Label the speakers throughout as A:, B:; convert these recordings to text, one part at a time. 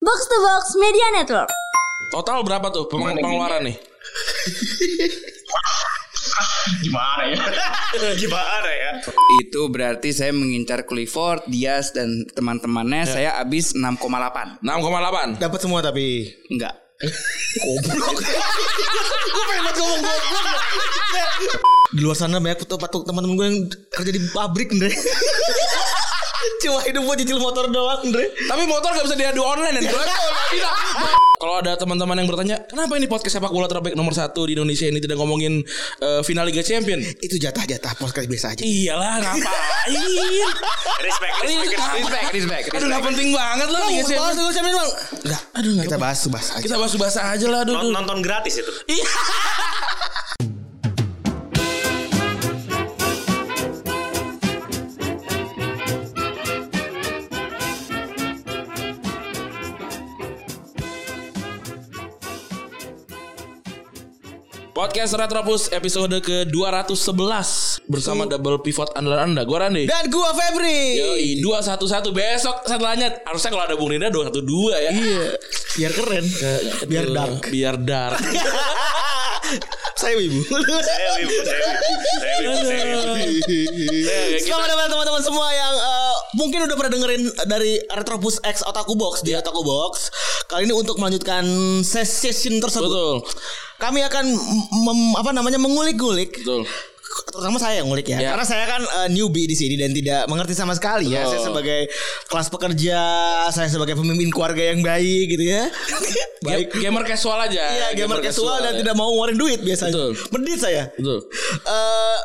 A: Box to Box Media Network.
B: Total berapa tuh peng- pengeluaran nih?
C: Gimana ya? Gimana ya?
D: Itu berarti saya mengincar Clifford, Diaz dan teman-temannya
B: Ya.
D: saya habis 6,8.
B: 6,8.
E: Dapat semua tapi
D: Enggak.
E: di luar sana banyak tuh patung teman-teman gue yang kerja di pabrik, Andre. Cuma hidup buat cicil motor doang, Andre.
B: Tapi motor gak bisa diadu online dan Kalau ada teman-teman yang bertanya, kenapa ini podcast sepak bola terbaik nomor satu di Indonesia ini tidak ngomongin eh, final Liga Champion?
E: Itu jatah-jatah podcast biasa
B: Iya.
E: aja.
B: Iyalah ngapain?
C: Respect, respect, respect.
D: respect,
B: Aduh gak penting banget loh Liga
E: Bahas
B: Champion.
E: dulu Champion, Bang. Enggak, aduh Kita bahas bahas aja.
B: Kita bahas-bahasa aja lah
C: Nont-
B: aduh.
C: Nonton gratis itu. Eh,
B: Podcast Retropus episode ke-211 bersama double pivot andalan Anda. Gua Randy.
E: Dan gua Febri.
B: Yoi, 211 besok setelahnya harusnya kalau ada Bung Rinda 212 ya. Iya.
E: Biar keren. Biar dark.
B: Biar dark.
E: Saya wibu.
C: Saya wibu, saya wibu, saya wibu, saya wibu.
B: Eh,
E: Selamat datang teman-teman semua yang eh, mungkin udah pernah dengerin dari Retropus X Otaku Box di Otaku Box. Kali ini untuk melanjutkan session tersebut.
B: Betul.
E: Kami akan mem- apa namanya mengulik-gulik
B: Betul.
E: terutama saya yang ngulik ya.
B: Ya.
E: Karena saya kan eh, newbie di sini dan tidak mengerti sama sekali ya.
B: Betul.
E: Saya sebagai kelas pekerja, saya sebagai pemimpin keluarga yang baik gitu ya.
B: Baik.
E: baik.
B: Gamer casual aja.
E: Iya, gamer casual dan
B: ya.
E: tidak mau ngeluarin duit biasanya.
B: Betul.
E: Mendit saya.
B: Betul.
E: Eh,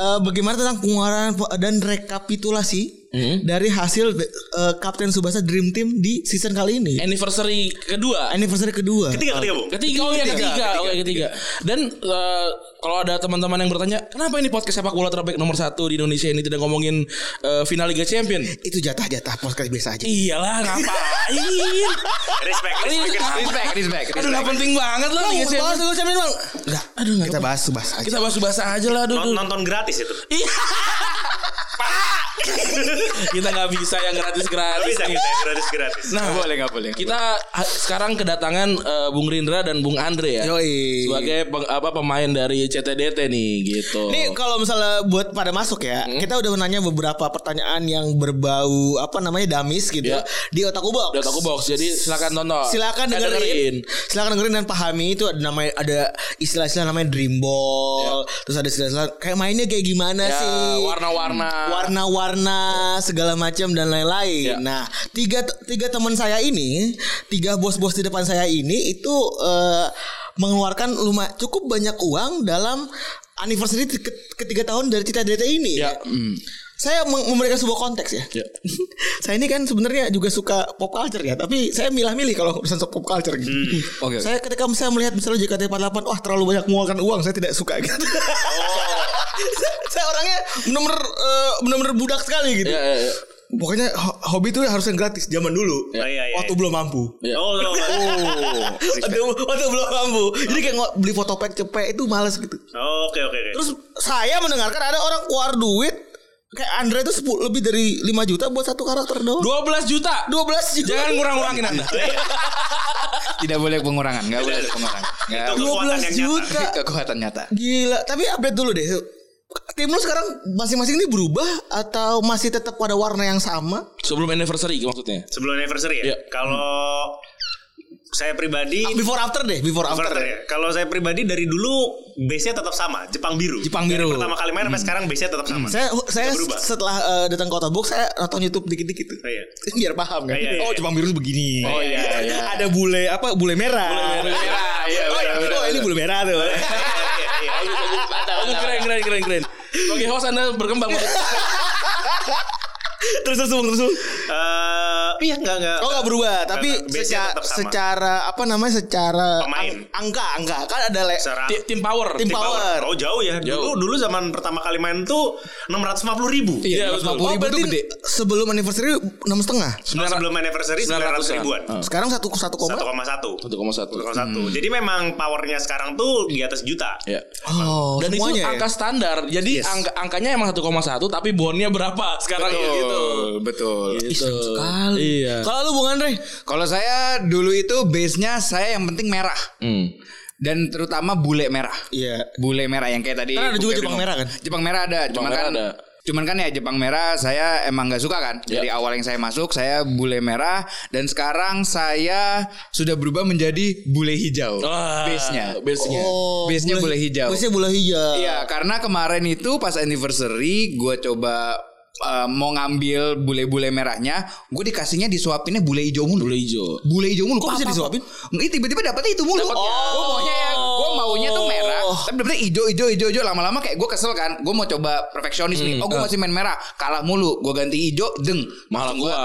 E: eh, bagaimana tentang pengeluaran dan rekapitulasi
B: Hmm?
E: dari hasil eh, Kapten Subasa Dream Team di season kali ini?
B: Anniversary kedua.
E: Anniversary kedua.
C: Ketiga, ketiga, Bung.
B: Ketiga, oh ya ketiga, oke ketiga. Dan eh, kalau ada teman-teman yang bertanya, kenapa ini podcast sepak bola terbaik nomor satu di Indonesia ini tidak ngomongin eh, final Liga Champion?
E: Itu jatah-jatah podcast biasa aja.
B: Iyalah ngapain?
C: Respect, respect, respect.
D: Respect, respect,
B: Aduh gak penting banget lah Liga
E: bahas
B: Champion.
E: dulu Champion, Bang. Enggak, aduh enggak. Kita bahas Subasa aja.
B: Kita bahas-bahasa aja lah aduh.
C: Nont- Nonton gratis itu.
B: Kita nggak bisa yang
C: Gak
B: gratis-gratis.
C: bisa kita yang gratis, gratis.
B: Nah,
D: boleh, nggak boleh.
B: Kita ha- sekarang kedatangan eh, Bung Rindra dan Bung Andre ya.
E: Yoi.
B: Sebagai peng- apa pemain dari CTDT nih gitu.
E: Ini kalau misalnya buat pada masuk ya, kita udah menanya beberapa pertanyaan yang berbau apa namanya damis gitu
B: Iya.
E: di otakku box.
B: Udah aku box. Jadi silakan tonton.
E: Silakan
B: Eh,
E: dengerin. Silakan dengerin dan pahami itu ada namanya ada istilah-istilah namanya dream ball, terus ada istilah-istilah kayak mainnya kayak gimana
B: Ya,
E: sih?
B: warna-warna.
E: warna-warna segala macam dan
B: Ya.
E: lain-lain. Nah, tiga tiga teman saya ini, tiga bos-bos di depan saya ini itu eh, mengeluarkan lumayan cukup banyak uang dalam anniversary ke- ketiga tahun dari Cita DT ini.
B: Ya.
E: Saya mem- memberikan sebuah konteks ya.
B: Ya.
E: saya ini kan sebenarnya juga suka pop culture ya, tapi saya milah-milih kalau urusan pop culture gitu.
D: Oke, oke.
E: Saya ketika saya melihat misalnya JKT48, wah terlalu banyak mengeluarkan uang, saya tidak suka gitu. saya orangnya benar-benar eh, benar-benar budak sekali gitu.
B: Ya, ya, ya.
E: Pokoknya ho- hobi itu harus yang gratis zaman dulu.
C: Oh, iya, iya.
E: Waktu belum mampu.
C: Oh, no, no.
B: Oh.
E: Waktu, waktu belum mampu. Jadi kayak ngo- beli fotopack cepet itu males gitu.
C: Oh, Oke, oke, oke.
E: Terus saya mendengarkan ada orang keluar duit kayak Andre itu 10 lebih dari 5 juta buat satu karakter doang.
B: 12 juta.
E: 12 juta.
B: Jangan ngurang-ngurangin Anda.
D: Tidak boleh pengurangan, enggak boleh ada pengurangan.
E: Ya,
D: Enggak.
C: Itu kekuatan yang
E: 12
C: nyata.
E: juta.
D: Kekuatan nyata.
E: Gila, tapi update dulu deh. Tim lu sekarang masing-masing ini berubah atau masih tetap pada warna yang sama?
B: Sebelum anniversary maksudnya.
C: Sebelum anniversary ya.
B: Iya.
C: Kalau saya pribadi
E: Before after deh, before after.
C: Overrated ya. Kalau saya pribadi dari dulu base-nya tetap sama, Jepang biru.
E: Jepang
C: Dari
E: biru. Hmm.
C: pertama kali main sampai sekarang base-nya tetap sama.
E: Saya saya
C: Nggak berubah.
E: setelah eh, datang ke Kota Box saya nonton YouTube dikit-dikit tuh.
C: Iya.
E: Biar paham kan.
C: Iya, iya.
E: Oh, Jepang biru begini.
C: Oh, iya, iya.
E: Ada bule apa? Bule merah.
B: Bule merah, iya,
E: Oh, iya.
B: benar,
E: Oh, ini bule merah tuh.
C: Iya, iya.
B: Aduh, keren keren keren keren. Oke, host Anda berkembang.
E: terus terus Bung, terus. Bung.
C: Eh, iya enggak enggak.
E: Oh nggak berubah, tapi
C: Nggak, base-nya
E: secara,
C: tetap sama.
E: secara apa namanya secara
C: Pemain.
E: ang- angka angka kan ada le-
C: Secara
B: Ti- Tim power.
E: Tim power.
C: Oh jauh ya.
B: Iya. Jauh.
C: Dulu dulu zaman pertama kali main tuh 650 ribu.
B: Iya, betul.
D: 250 ribu
E: Oh, berarti
D: tuh gede.
E: sebelum anniversary enam setengah.
C: Kalau sebelum anniversary 900 ribuan.
B: Oh.
E: Sekarang satu satu
C: Satu
E: koma.
C: koma satu.
B: 1,1.
C: Jadi memang powernya sekarang tuh di atas juta.
B: Hmm. Ya.
E: Oh,
B: Dan itu
E: semuanya ya?
B: angka standar. Jadi angka angkanya emang 1,1 tapi bonnya berapa sekarang ya gitu.
D: Betul, betul.
E: Ih, serem sekali.
B: Iya.
E: Kalau lu Bung Andre?
D: Kalau saya dulu itu base-nya saya yang penting merah
B: Hmm.
D: dan terutama bule merah.
E: Iya.
D: Bule merah yang kayak tadi.
E: Kan ada juga
D: Bung Kevin
E: Jepang
D: ngomong.
E: merah kan?
D: Jepang merah ada, cuman
B: merah
D: kan
B: ada.
D: Cuman kan ya Jepang merah saya emang nggak suka kan. Dari awal yang saya masuk saya bule merah dan sekarang saya sudah berubah menjadi bule hijau.
B: Ah,
D: base-nya. Oh,
B: base-nya.
D: Base-nya bule Iya. hijau.
E: Oh, Biasanya bola hijau.
D: Iya, karena kemarin itu pas anniversary gue coba eh, mau ngambil bule-bule merahnya, gue dikasihnya disuapinnya bule hijau mulu.
B: Bule hijau.
D: Bule hijau mulu.
E: Kok bisa
D: Apa-apa.
E: disuapin?
D: Ih, tiba-tiba dapetnya itu mulu. Gue maunya ya, gue maunya tuh merah. Tapi dapetnya hijau, hijau, hijau, hijau. Lama-lama kayak gue kesel kan. Gue mau coba perfeksionis nih. Oh, gue masih main merah. Kalah mulu. Gue ganti hijau, deng.
B: Malah kuat.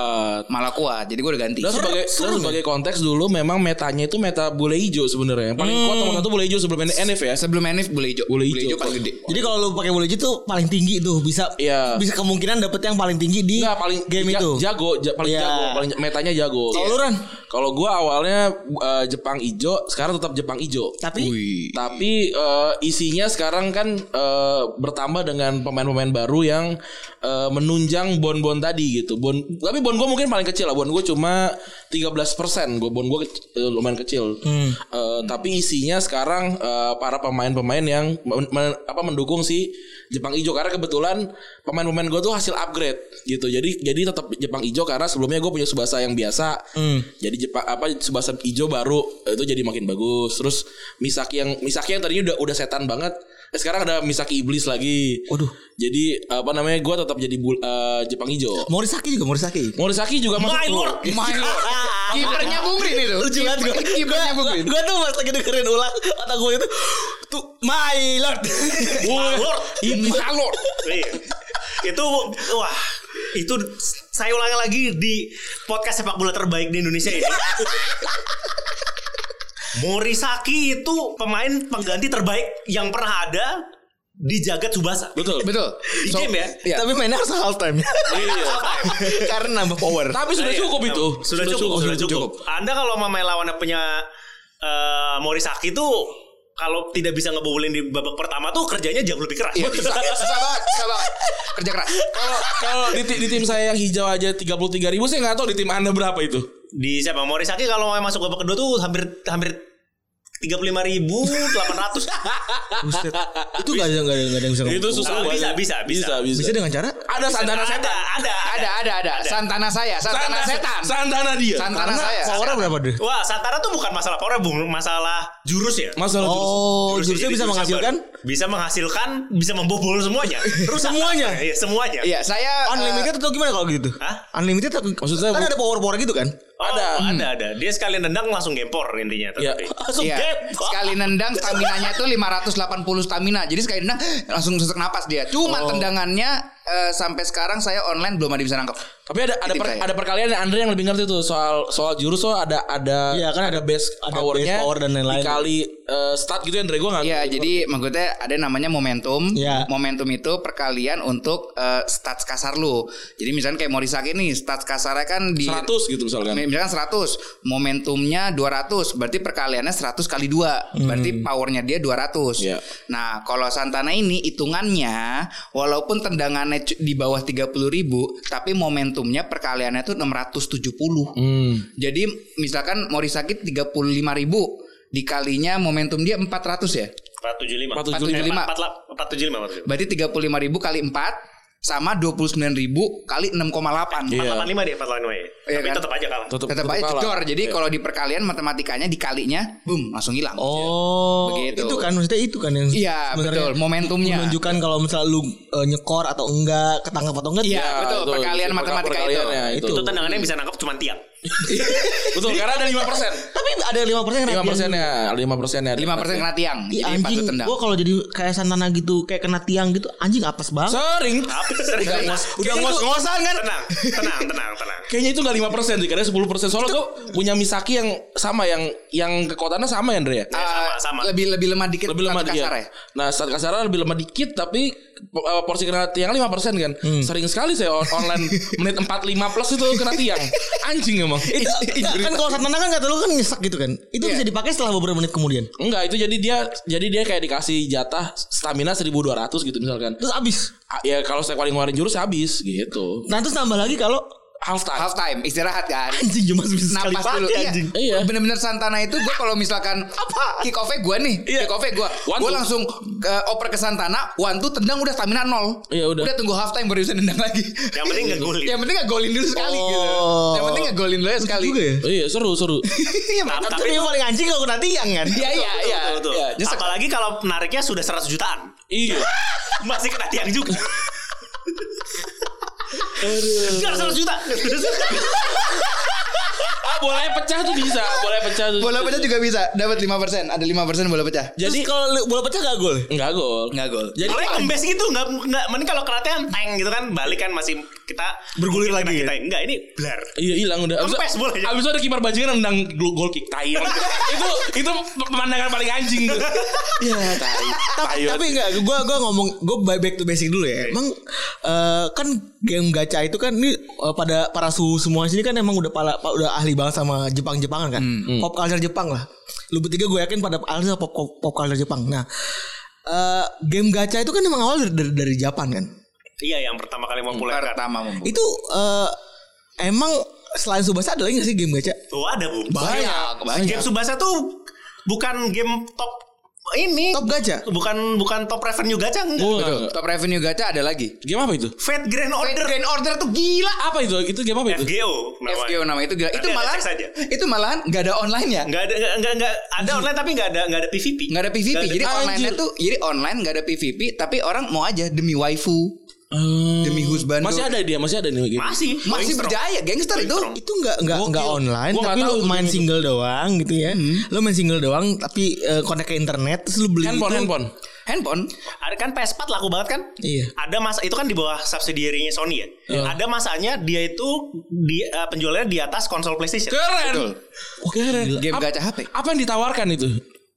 D: Malah kuat. Jadi gue udah ganti.
B: Dan sebagai dan sebagai konteks dulu memang metanya itu meta bule hijau sebenarnya. Yang paling kuat nomor satu bule hijau sebelum NF ya.
D: Sebelum NF bule hijau.
B: Bule hijau.
D: paling gede.
E: Jadi kalau lu pakai bola hijau tuh paling tinggi tuh bisa
B: Iya.
E: bisa kemungkinan dapet yang paling tinggi di
B: Enggak paling
E: Iya, game
B: ja-
E: itu.
B: jago, ja- paling
E: Iya.
B: jago, paling ja- metanya jago. Iya.
E: Kalau lu, Ran?
B: Kalau gua awalnya eh, Jepang ijo, sekarang tetap Jepang ijo.
E: Tapi
D: Wih.
B: Tapi eh, isinya sekarang kan eh, bertambah dengan pemain-pemain baru yang eh, menunjang bon-bon tadi gitu. Bon tapi bon gue mungkin paling kecil lah. Bon gue cuma 13%. Gue bon gue lumayan kecil.
E: Hmm.
B: Eh, tapi isinya sekarang eh, para pemain-pemain yang men- men- apa mendukung si Jepang Ijo karena kebetulan pemain-pemain gue tuh hasil upgrade gitu. Jadi jadi tetap Jepang Ijo karena sebelumnya gue punya Subasa yang biasa.
C: Hmm.
B: Jadi Jepang apa Subasa Ijo baru eh, itu jadi makin bagus. Terus Misaki yang Misaki yang tadinya udah udah setan banget. Eh, sekarang ada Misaki iblis lagi.
E: Waduh.
B: Jadi apa namanya? Gue tetap jadi bul- eh, Jepang Ijo.
E: Morisaki juga Morisaki.
B: Morisaki juga masuk
E: My
B: tuh.
E: lord.
D: My lord. Kipernya Bung Rin itu.
E: Lucu banget gue
D: Kipernya Bung Rin.
E: Gue tuh pas lagi dengerin ulang Kata gue itu Tuh My lord
B: Wah,
C: Lord.
B: ini lord.
C: Iya. itu wah itu saya ulangi lagi di podcast sepak bola terbaik di Indonesia ini. Morisaki itu pemain pengganti terbaik yang pernah ada di jagat Subasa.
B: Betul.
D: Betul.
C: Di
D: So-
C: game ya?
D: Iya.
E: Tapi mainnya harus half time Iya. Karena nambah power
B: Tapi sudah
C: Iya.
B: cukup itu.
C: Sudah, cukup, sudah cukup. Anda kalau mau main lawannya punya eh, Morisaki itu kalau tidak bisa ngebobolin di babak pertama tuh kerjanya jauh lebih keras.
D: Iya. Susah susah banget, susah banget. Kerja keras.
B: Kalau kalau di, ti- di tim saya yang hijau aja 33.000 ribu, saya nggak tahu di tim anda berapa itu.
C: di siapa Morisaki kalau mau masuk babak kedua tuh hampir hampir tiga puluh lima ribu delapan ratus
E: Itu gak ada, gak ada, gak ada yang bisa
B: itu susah
C: Bisa,
B: banget.
C: bisa, bisa.
B: bisa.
E: Bisa dengan cara
B: Ada santana
C: ada
B: setan.
C: ada
D: Ada, ada, ada. Santana saya, Santana setan.
B: Santana dia.
D: Santana saya.
E: Powernya berapa deh
C: wah Santana tuh bukan masalah power bung masalah jurus ya
B: Masalah jurus.
E: Oh Jurusnya
C: jadi
E: bisa
C: jurus
E: menghasilkan
C: sabar. bisa menghasilkan bisa membobol semuanya Rusak.
E: Semuanya?
C: iya semuanya
D: Iya, saya eh,
E: Unlimited atau gimana kalau gitu
C: Hah?
E: Unlimited atau
B: Maksud saya,
E: Kan
B: Bu-
E: ada power-power gitu kan
C: Oh,
B: Ada.
C: ada ada dia sekalian nendang langsung gempor intinya
B: Iya.
C: tapi
E: Langsung
D: Iya.
E: gap.
D: Sekali nendang staminanya tuh 580 stamina. Jadi sekali nendang langsung sesak napas dia.
E: Oh.
D: Cuma tendangannya eh, sampai sekarang saya online belum ada yang bisa nangkep.
B: Tapi ada ada
D: Di tim
B: per-
D: saya.
B: ada perkalian yang Andre yang lebih ngerti tuh soal soal jurus so ada ada
E: Iya, kan ada
B: base
E: ada
B: powernya
E: base power dan lain-lain.
B: dikali eh, stat gitu yang Andre gue nggak.
D: Iya, jadi maksudnya ada namanya momentum.
E: Iya.
D: Momentum itu perkalian untuk eh, stats kasar lu. Jadi misalnya kayak Morisaki nih, stats kasarnya kan di
B: 100 gitu misalkan.
D: misalkan 100 momentumnya 200 berarti perkaliannya 100 kali 2
B: Hmm.
D: berarti powernya dia 200
B: Iya.
D: nah kalau Santana ini hitungannya walaupun tendangannya cu- di bawah 30 ribu tapi momentumnya perkaliannya tuh 670
B: Hmm.
D: jadi misalkan Morisaki 35 ribu dikalinya momentum dia 400 ya
C: empat tujuh lima Eh,
D: 475.
C: empat empat tujuh lima
D: berarti 35 ribu kali 4 sama 29 ribu kali 6,8
B: Iya.
C: delapan lima dia empat delapan lima ya
D: Iya
C: tapi
D: kan?
C: tetap aja kalah
B: Tetep-
D: tetap
B: tetep
D: aja
B: kalah. Iya.
D: jedor. Jadi kalau di perkalian matematikanya dikalinya, boom, langsung hilang.
E: Oh,
D: Begitu.
E: itu kan maksudnya itu kan yang
D: Iya,
E: sebenarnya
D: betul. Momentumnya.
E: menunjukkan kalau misalnya lu eh, nyekor atau enggak, ketangkap atau enggak.
D: Iya, betul.
B: itu,
D: Perkalian
B: itu,
D: matematika
B: perkaliannya,
D: itu.
B: itu.
C: itu tendangannya bisa nangkep cuma tiang
B: Betul, karena ada 5 persen.
E: Tapi ada 5% persen
B: 5 persennya, 5 persennya.
D: 5 persen
B: Iya,
D: kena tiang.
E: Ih,
D: jadi patut
E: Iya, anjing,
D: tendang.
E: gua kalau jadi kayak santana gitu, kayak kena tiang gitu, anjing apes banget.
B: Sering.
C: Apa? Sering
B: Udah ngos- udah ngos-ngosan kan?
C: Tenang, tenang, tenang, tenang.
B: Kayaknya itu gak 5 persen sih, karena 10 persen. Soalnya gue punya Misaki yang sama, yang yang kekuatannya sama ya Andre ya?
C: sama, sama.
D: Eh, Lebih lebih lemah dikit.
B: Lebih lemah
D: Nah, satu
B: dia.
D: kasar ya.
B: Nah, saat kasarnya lebih lemah dikit tapi eh, porsi kena tiang 5 persen kan. Sering sekali saya on- online menit 45 plus itu kena tiang. Anjing emang.
E: Itu enggak, kan kalau santana kan kata lu kan nyesek gitu kan. Itu
D: Iya.
E: bisa dipakai setelah beberapa menit kemudian.
B: Enggak, itu jadi dia jadi dia kayak dikasih jatah stamina 1200 gitu misalkan.
E: Terus abis.
B: Ah, Ya kalau saya paling ngeluarin jurus habis gitu.
E: Nah, terus nambah lagi kalau
B: half time.
D: half time istirahat kan
E: Anjing cuma bisa sekali
D: napas dulu
E: pakai
D: iya.
E: anjing.
B: Iya.
D: bener-bener Santana itu gue kalau misalkan apa kick off gue nih kick off gue
B: One, two.
D: gue langsung ke oper ke Santana one two tendang udah stamina nol
B: Iya, udah.
D: udah tunggu half time baru bisa nendang lagi
C: Yang penting ngegolin.
D: yang penting golin dulu sekali gitu
E: Oh.
D: yang penting golin dulu sekali
E: juga ya?
B: Iya seru seru.
D: iya mantap.
E: Tapi yang paling anjing kalau nanti yang kan.
D: iya iya iya
C: Betul, betul.
D: Iya, nyesek.
C: Apalagi kalau nariknya sudah 100 jutaan.
B: iya.
C: Masih kena tiang juga. Gak 100 juta.
B: Ah bolanya pecah tuh bisa. Boleh pecah tuh.
D: bola pecah juga bisa dapat 5% ada 5% bola pecah
E: Jadi kalau lu- bola pecah gak gol?
B: Enggak gol.
D: nggak gol
C: Jadi kembes gitu nggak nggak mending kalau keratnya tank gitu kan balik kan masih kita
E: Bergulir
C: mungkin
E: lagi
C: kena
E: ya?
C: Kita, enggak ini blar.
B: Iya hilang udah. Abis,
C: Kempes bolanya.
B: abis itu ada kiper bajingan nendang gol gol kick tai. emang. itu itu pemandangan paling anjing tuh.
E: Iya, tapi tapi enggak gua gua ngomong gua by- back to basic dulu ya. Emang eh, kan game gacha itu kan ini eh, pada para suhu semua sini kan emang udah pala, pa- udah ahli banget sama Jepang-Jepangan kan. Pop culture Jepang lah. Lu bertiga gue yakin pada ahli sama pop, pop, pop culture Jepang. Nah, eh, game gacha itu kan emang awal dari, dari, dari Japan kan.
C: Iya yang pertama kali mau pulang kan.
D: pertama mampu
E: Itu eh, emang selain Subasa ada lagi gak sih game gacha?
C: Tuh ada bu.
D: banyak banyak
C: Game Subasa tuh bukan game top ini.
E: Top gacha.
C: Bukan bukan top revenue gacha enggak.
B: Gua
D: Betul. top revenue gacha ada lagi
B: Game apa itu?
C: Fate Grand Order
D: Grand order tuh gila
B: Apa itu? Itu game apa itu?
C: FGO namanya.
D: FGO nama itu gila. Itu
C: Nanti ada
D: malahan
C: cek saja.
D: itu malahan nggak ada online ya.
C: Enggak ada enggak enggak enggak ada online tapi enggak ada enggak ada PVP.
D: Nggak ada PVP.
C: Nggak ada-
D: jadi
B: Anjir.
D: online tuh jadi online nggak ada PVP tapi orang mau aja demi waifu,
B: Eh,
D: demi husband
B: masih ada dia, masih ada nih game.
C: Masih
D: masih berjaya gangster itu.
C: Strong.
E: itu nggak nggak
B: Gokil.
E: nggak online
B: Gua
E: tapi
B: nggak
E: lu
B: tahu
E: main
B: itu.
E: single doang gitu ya lu main single doang tapi eh, connect ke internet terus lu beli
B: Handphone,
E: itu.
B: handphone.
D: Handphone.
C: Ada kan PS4 laku banget kan?
E: Iya.
C: Ada masa itu kan di bawah subsidiary-nya Sony ya. Ada masanya dia itu di eh, penjualannya di atas konsol PlayStation.
B: Keren.
D: Betul.
B: Wah, Keren.
D: Game
B: Apa-
D: gacha HP.
B: Apa yang ditawarkan itu?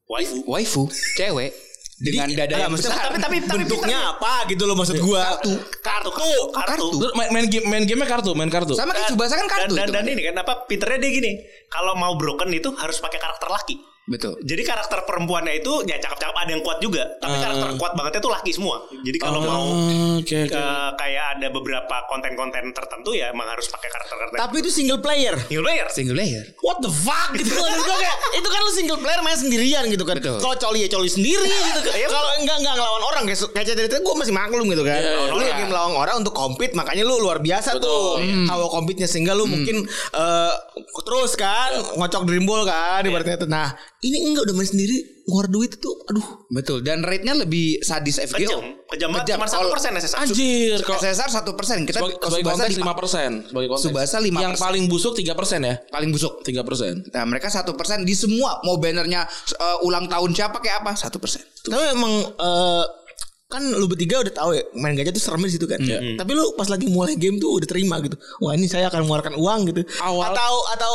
C: Waifu.
D: Waifu cewek dengan dada
E: Ah,
D: yang
E: maksudnya
D: besar.
C: Tapi tapi tapi
E: bentuknya apa gitu loh maksud gua
D: kartu.
C: kartu kartu. kartu.
D: Kartu.
B: Terus main, main game main gamenya kartu, main kartu.
D: Sama kayak Tsubasa kan kartu
C: Dan,
D: itu
C: dan, dan
D: kan.
C: ini kan apa Peternya dia gini, kalau mau broken itu harus pakai karakter laki.
D: Betul.
C: Jadi karakter perempuannya itu ya cakep-cakep ada yang kuat juga, tapi karakter kuat bangetnya tuh laki semua. Jadi kalau mau
B: Oh, Oke, oke.
C: eh, kayak ada beberapa konten-konten tertentu ya emang harus pakai karakter-karakter.
E: tapi itu single player
C: New player.
D: Single player.
E: what the fuck gitu loh Maksud gua kayak itu kan lu single player main sendirian gitu kan
D: Betul.
E: kalau coli ya coli sendiri gitu kan kalau enggak enggak ngelawan orang kayak kayak cerita gua masih maklum gitu kan lu
C: orang.
E: lagi melawan orang untuk compete makanya lu luar biasa tuh Hmm. kalau compete-nya sehingga lu mungkin eh, terus kan ngocok dreamball kan ibaratnya tuh. nah ini enggak udah main sendiri ngeluar duit itu aduh
D: Betul. Dan rate-nya lebih sadis FGO.
C: Kejam, kejam banget. Cuma
D: Kalau
C: 1% SSR.
B: Anjir, kok
D: SSR 1%. Kita
B: sebagai,
D: kalau
B: sebagai
D: Tsubasa
B: konteks
D: lima-
B: 5%, sebagai konteks.
D: Tsubasa 5%.
B: Yang paling busuk 3% ya?
D: paling busuk.
B: 3%.
D: Nah mereka satu persen di semua mau bannernya eh, ulang tahun siapa kayak apa satu persen.
E: Tapi emang eh, kan lu bertiga udah tahu ya main gajah tuh serem di situ kan.
B: Iya.
E: Tapi lu pas lagi mulai game tuh udah terima gitu. Wah ini saya akan mengeluarkan uang gitu.
B: Awal-
E: Atau atau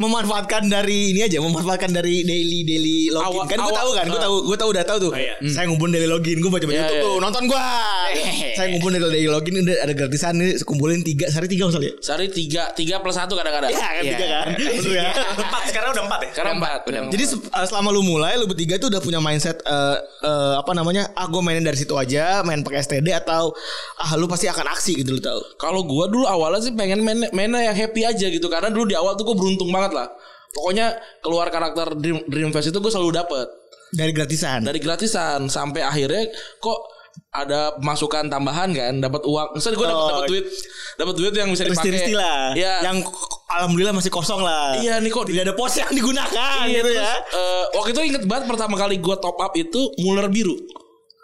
E: memanfaatkan dari ini aja, memanfaatkan dari daily daily login.
B: Awal-
E: kan gue
B: awal- Ah. Oh,
E: tahu kan, gue tahu gue tahu udah tahu tuh.
C: iya.
E: Hmm. Saya ngumpulin daily login, gue baca baca
B: Iya,
E: YouTube
B: iya. Eh,
E: tuh nonton gua. saya ngumpulin dari daily login udah ada gratisan nih, kumpulin tiga sehari tiga misalnya.
B: Sehari 3, 3 plus 1 kadang-kadang.
E: Ya kan tiga kan. Betul ya.
C: Empat sekarang udah empat ya.
B: Sekarang 4.
D: Udah empat.
E: Jadi se- uh, selama lu mulai lu bertiga tuh udah punya mindset uh, uh, apa namanya? Ah gue mainin dari situ aja, main pakai STD atau ah lu pasti akan aksi gitu lu tahu.
B: Kalau gua dulu awalnya sih pengen main mainnya yang happy aja gitu karena dulu di awal tuh gua beruntung banget lah. Pokoknya keluar karakter Dream, Dream Fest itu gua selalu dapet
E: Dari gratisan.
B: dari gratisan sampai akhirnya kok ada masukan tambahan kan dapat uang. Misalnya gua dapat
E: Oh.
B: dapat duit, dapat duit yang bisa dipakai.
E: Terus lah
B: Iya.
E: Yang alhamdulillah masih kosong lah.
B: Iya, nih kok-
E: tidak ada pos yang digunakan
B: Iya,
E: gitu
B: terus,
E: ya.
B: eh, waktu itu inget banget pertama kali gua top up itu Muller biru.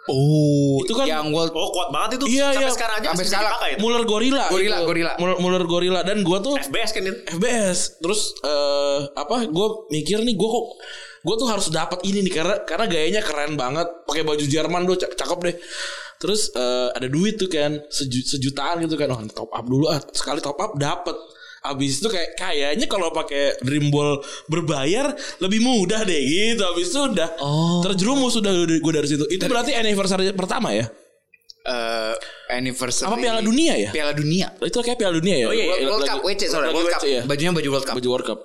E: Oh.
B: Itu kan
D: yang world
C: Oh kuat banget itu.
B: Iya,
C: sampai
B: iya.
C: sekarang aja
D: Sampai
C: masih
D: sekarang.
C: dipakai itu.
B: Muller gorila.
D: Gorila,
B: itu.
D: gorila.
B: Muller, Muller gorila dan gua tuh
C: FBS kan
B: iya.
C: itu.
B: FBS terus eh apa gue mikir nih gue kok gue tuh harus dapat ini nih karena karena gayanya keren banget pakai baju Jerman tuh cak- cakep deh terus eh, ada duit tuh kan seju- sejutaan gitu kan oh, top up dulu ah sekali top up dapat Abis itu kayak kayaknya kalau pakai dream ball berbayar lebih mudah deh gitu. Abis itu udah
D: Oh.
B: terjerumus sudah gue dari situ. Itu berarti anniversary pertama ya?
D: eh, anniversary.
B: Apa Piala Dunia ya?
D: Piala dunia.
B: Itu kayak Piala Dunia ya?
C: iya, iya.
B: Lagi-
D: Oh, World Cup,
B: lagi-
D: WC sorry,
B: lagi
D: World Cup.
B: WC, ya?
D: Bajunya baju World Cup.
B: baju World Cup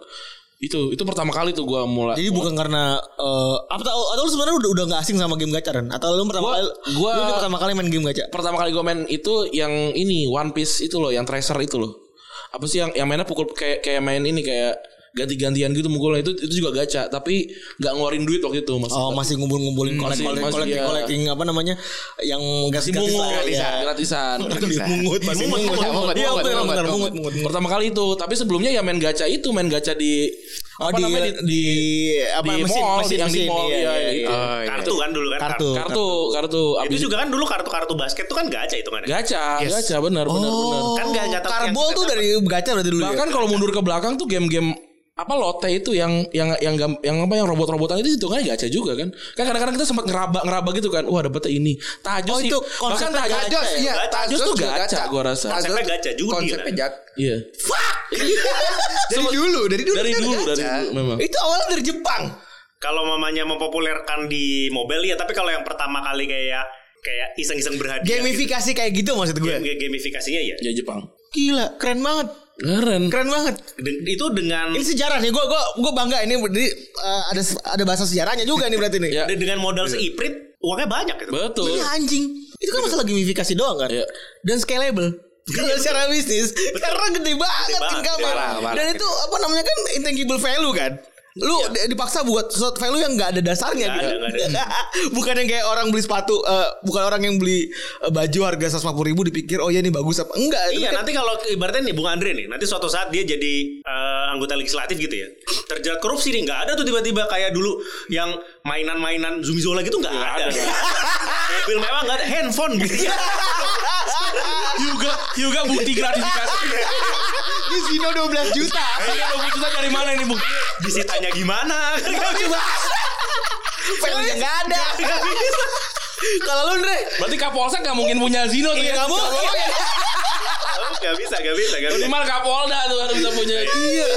B: itu itu pertama kali tuh gua mulai
E: Jadi bukan karena eh, apa tau atau lu sebenarnya udah udah gak asing sama game gacha Ren? atau lu pertama
B: Gua-
E: kali
B: gua-
E: lu udah pertama kali main game gacha?
B: pertama kali gua main itu yang ini One Piece itu loh yang Tracer itu loh apa sih yang yang mainnya pukul kayak kayak main ini kayak ganti-gantian gitu mukulnya itu itu juga gacha tapi nggak ngeluarin duit waktu itu mas
E: Oh masih ngumpul-ngumpulin
B: Hmm,
E: kolektif
B: masih- masih,
E: kolektif
B: iya.
E: kolektif apa namanya yang
B: masih
E: gratis
B: mungut
E: lah ya.
B: gratisan iya, gratisan
E: Mungut masih
D: Mungut,
E: mungut.
D: mungut,
E: Iya
D: mungut,
E: benar
D: mungut,
E: benar
D: mungut.
E: mungut mungut.
B: pertama kali itu tapi sebelumnya ya main gacha itu main gacha di
E: Oh di di apa
B: di
E: mesin
B: mall,
E: mesin
B: yang di
E: mesin.
B: mall,
E: Iya,
B: iya,
E: iya,
B: iya.
E: iya.
D: Oh, iya.
C: Kartu kan dulu kan.
E: Kartu.
B: kartu kartu
C: Itu
B: abis
C: juga kan dulu kartu-kartu basket tuh kan gacha itu kan.
B: gacha
D: Yes.
B: gacha benar benar benar
E: Oh,
C: Kan nggak- nggak tahu
E: Karbol
C: yang-
E: tuh dari gacha berarti
D: Iya.
E: dulu. ya?
B: bahkan kalau mundur ke belakang tuh game-game apa lote itu yang yang yang gam- yang apa yang robot-robotan itu itu kan gacha juga kan kan kadang-kadang kita sempat ngeraba ngeraba gitu kan wah dapetnya ini tajus
E: Oh,
B: sih
E: itu
B: bahkan
E: konsepnya
B: tajus
D: Tajos, iya.
C: Gacha.
D: Tajos
B: Justru
D: juga
B: gacha, gua rasa.
D: Tajos-
C: Konsepnya gacha judi,
D: Konsepnya
C: kan?
D: jak-
B: iya
D: Fuck. dari dulu, dari dulu.
B: Dari
D: kan
B: dulu, dari
D: gacha.
B: dulu, memang.
D: Itu awalnya dari Jepang.
C: Kalau mamanya mempopulerkan di mobile ya, tapi kalau yang pertama kali kayak kayak iseng-iseng berhadiah.
B: Iya,
C: gitu.
E: Gamifikasi kayak gitu maksud gue.
C: Game- Gamifikasinya ya.
B: ya Jepang
E: Gila, keren banget.
B: keren
E: Keren banget.
C: Den- itu dengan
E: Ini sejarah nih, gue gua gua bangga ini berarti eh, ada ada bahasa sejarahnya juga nih berarti nih.
B: Ya.
C: de- dengan modal seiprit uangnya Iya. banyak gitu.
B: betul
E: Ini
D: Iya.
E: anjing. Itu kan masalah gamifikasi doang kan.
B: Iya.
E: Dan scalable. Kalau secara bisnis karena gede banget
C: banget,
E: income-nya.
D: parah, parah.
E: Dan itu apa namanya kan intangible value kan. Lu di- dipaksa buat sesuatu value yang nggak ada dasarnya
C: Nggak
E: gitu.
C: ada, nggak
E: bukan yang kayak orang beli sepatu eh, bukan orang yang beli eh, baju harga 150 ribu dipikir oh ya ini bagus apa enggak. itu
C: Iya
E: kan-
C: nanti kalau ibaratnya nih Bung Andre nih nanti suatu saat dia jadi eh, anggota legislatif gitu ya terjerat korupsi nih nggak ada tuh tiba-tiba kayak dulu yang mainan-mainan Zumizola gitu nggak ada. Mobil memang nggak ada handphone gitu.
B: juga juga bukti gratifikasi
E: Ini Zino 12 juta.
B: ini 20 juta dari mana ini bukti
C: Disitanya gimana?
E: Coba. Value-nya nggak ada.
C: Nggak bisa.
E: Kalau lu Andre
B: berarti Kapolsek nggak mungkin punya Zino tuh
E: Iya
B: ya
E: nggak mungkin.
C: Nggak bisa, nggak bisa, nggak bisa.
B: minimal Kapolda tuh harus bisa punya
E: Iya.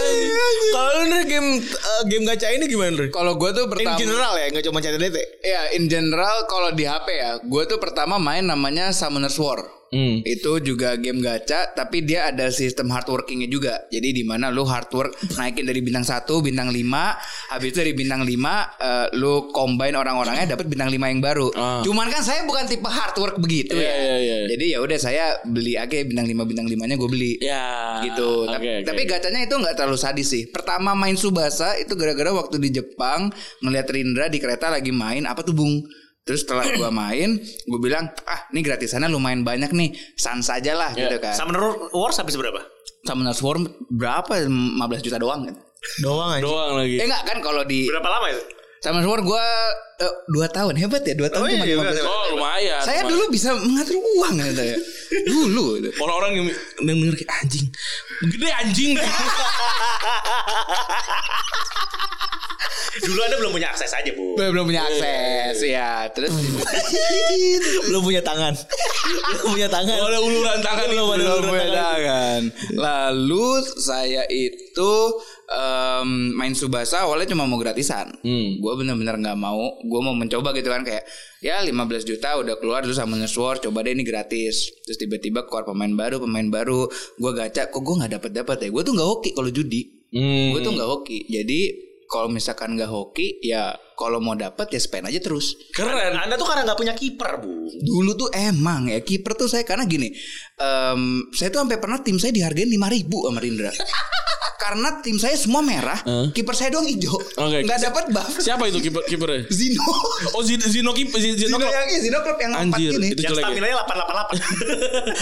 E: Kalau lu Andre game eh, game gacha ini gimana Andre?
D: Kalau gue tuh
E: In
D: pertama
E: general ya, nggak cuma CTDT.
D: Ya in general kalau di HP ya, gue tuh pertama main namanya Summoner's War.
B: Hmm.
D: Itu juga game gacha, tapi dia ada sistem hard workingnya juga. Jadi di mana lu hard work naikin dari bintang 1, bintang 5, habis itu dari bintang 5 eh, lu combine orang-orangnya dapat bintang 5 yang baru.
B: Ah.
D: Cuman kan saya bukan tipe hard work begitu
B: Iya,
D: ya.
B: iya, iya.
D: Jadi ya udah saya beli aja bintang 5 bintang 5-nya gue beli
B: ya
D: gitu.
B: oke,
D: Tapi-
B: oke.
D: Tapi gacanya itu nggak terlalu sadis sih. Pertama main Subasa itu gara-gara waktu di Jepang ngeliat Rindra di kereta lagi main apa tuh Bung. Terus setelah gua main, gue bilang, "Ah, ini gratisannya lumayan banyak nih. Sans aja lah
B: Ya,
D: gitu kan."
C: Summoner Wars habis berapa?
D: Summoner's War berapa? 15 juta doang kan.
E: Doang aja.
B: doang lagi
D: Eh enggak kan kalau di
C: Berapa lama itu?
D: Summoner's War gua 2 tahun. Hebat ya 2 tahun
C: Oh,
D: cuma
C: iya,
D: 15.
C: berarti.
B: oh lumayan
D: Saya
B: lumayan.
D: dulu bisa mengatur uang gitu ya. Dulu gitu.
B: orang-orang yang yang denger kayak anjing gede anjing
C: Dulu anda belum punya akses aja bu.
D: Belum punya akses ya. Terus
E: Belum punya tangan. Belum punya tangan.
B: ada uluran tangan
E: Belum ada
D: belum
E: uluran tangan.
D: bedakan. Lalu saya itu em, main Subasa awalnya cuma mau gratisan.
B: Hmm.
D: Gue bener-bener nggak mau. Gue mau mencoba gitu kan kayak ya 15 juta udah keluar dulu sama Sword coba deh ini gratis. Terus tiba-tiba keluar pemain baru, pemain baru. Gue gacha kok gue nggak dapat dapat ya. Gue tuh nggak hoki kalau judi.
B: Hmm.
D: Gue tuh nggak hoki. Jadi kalau misalkan nggak hoki ya kalau mau dapat ya spend aja terus
B: keren
C: Anda tuh karena nggak punya kiper bu.
D: dulu tuh emang ya kiper tuh saya karena gini em, saya tuh sampai pernah tim saya dihargain 5000 ribu sama Rindra karena tim saya semua merah
B: Heeh.
D: kiper saya doang hijau
B: Oke.
D: nggak dapat buff
B: siapa itu kiper kipernya
D: Zino
B: oh Zino Zino kiper Zino, Zino
D: Zino
B: klub.
D: yang Zino klub yang empat
B: anjir
D: ini
B: itu
C: Yang
B: jelek ya.
C: stamina nya delapan delapan delapan.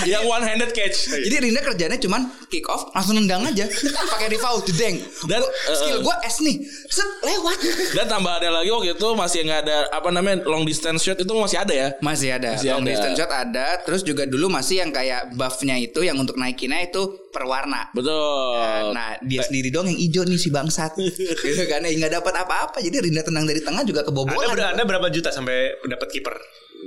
B: yang one handed catch
D: jadi Rindra kerjanya cuman kick off langsung nendang aja pakai default jedeng
B: Dan,
D: Gua-
B: eh,
D: skill
B: eh.
D: gue S nih set lewat
B: dan tambahannya lagi waktu itu masih nggak ada apa namanya long distance shot itu masih ada ya
D: masih ada
B: Masih
D: long
B: ada.
D: distance shot ada terus juga dulu masih yang kayak buffnya itu yang untuk naikinnya itu per warna
B: betul
D: Nah dia sendiri dong yang ijo nih si bangsat Gitu kan ya nggak dapat apa-apa Jadi Rinda tenang dari tengah juga
C: Anda, ber-
D: kebobolan
C: anda berapa juta sampai dapat kiper?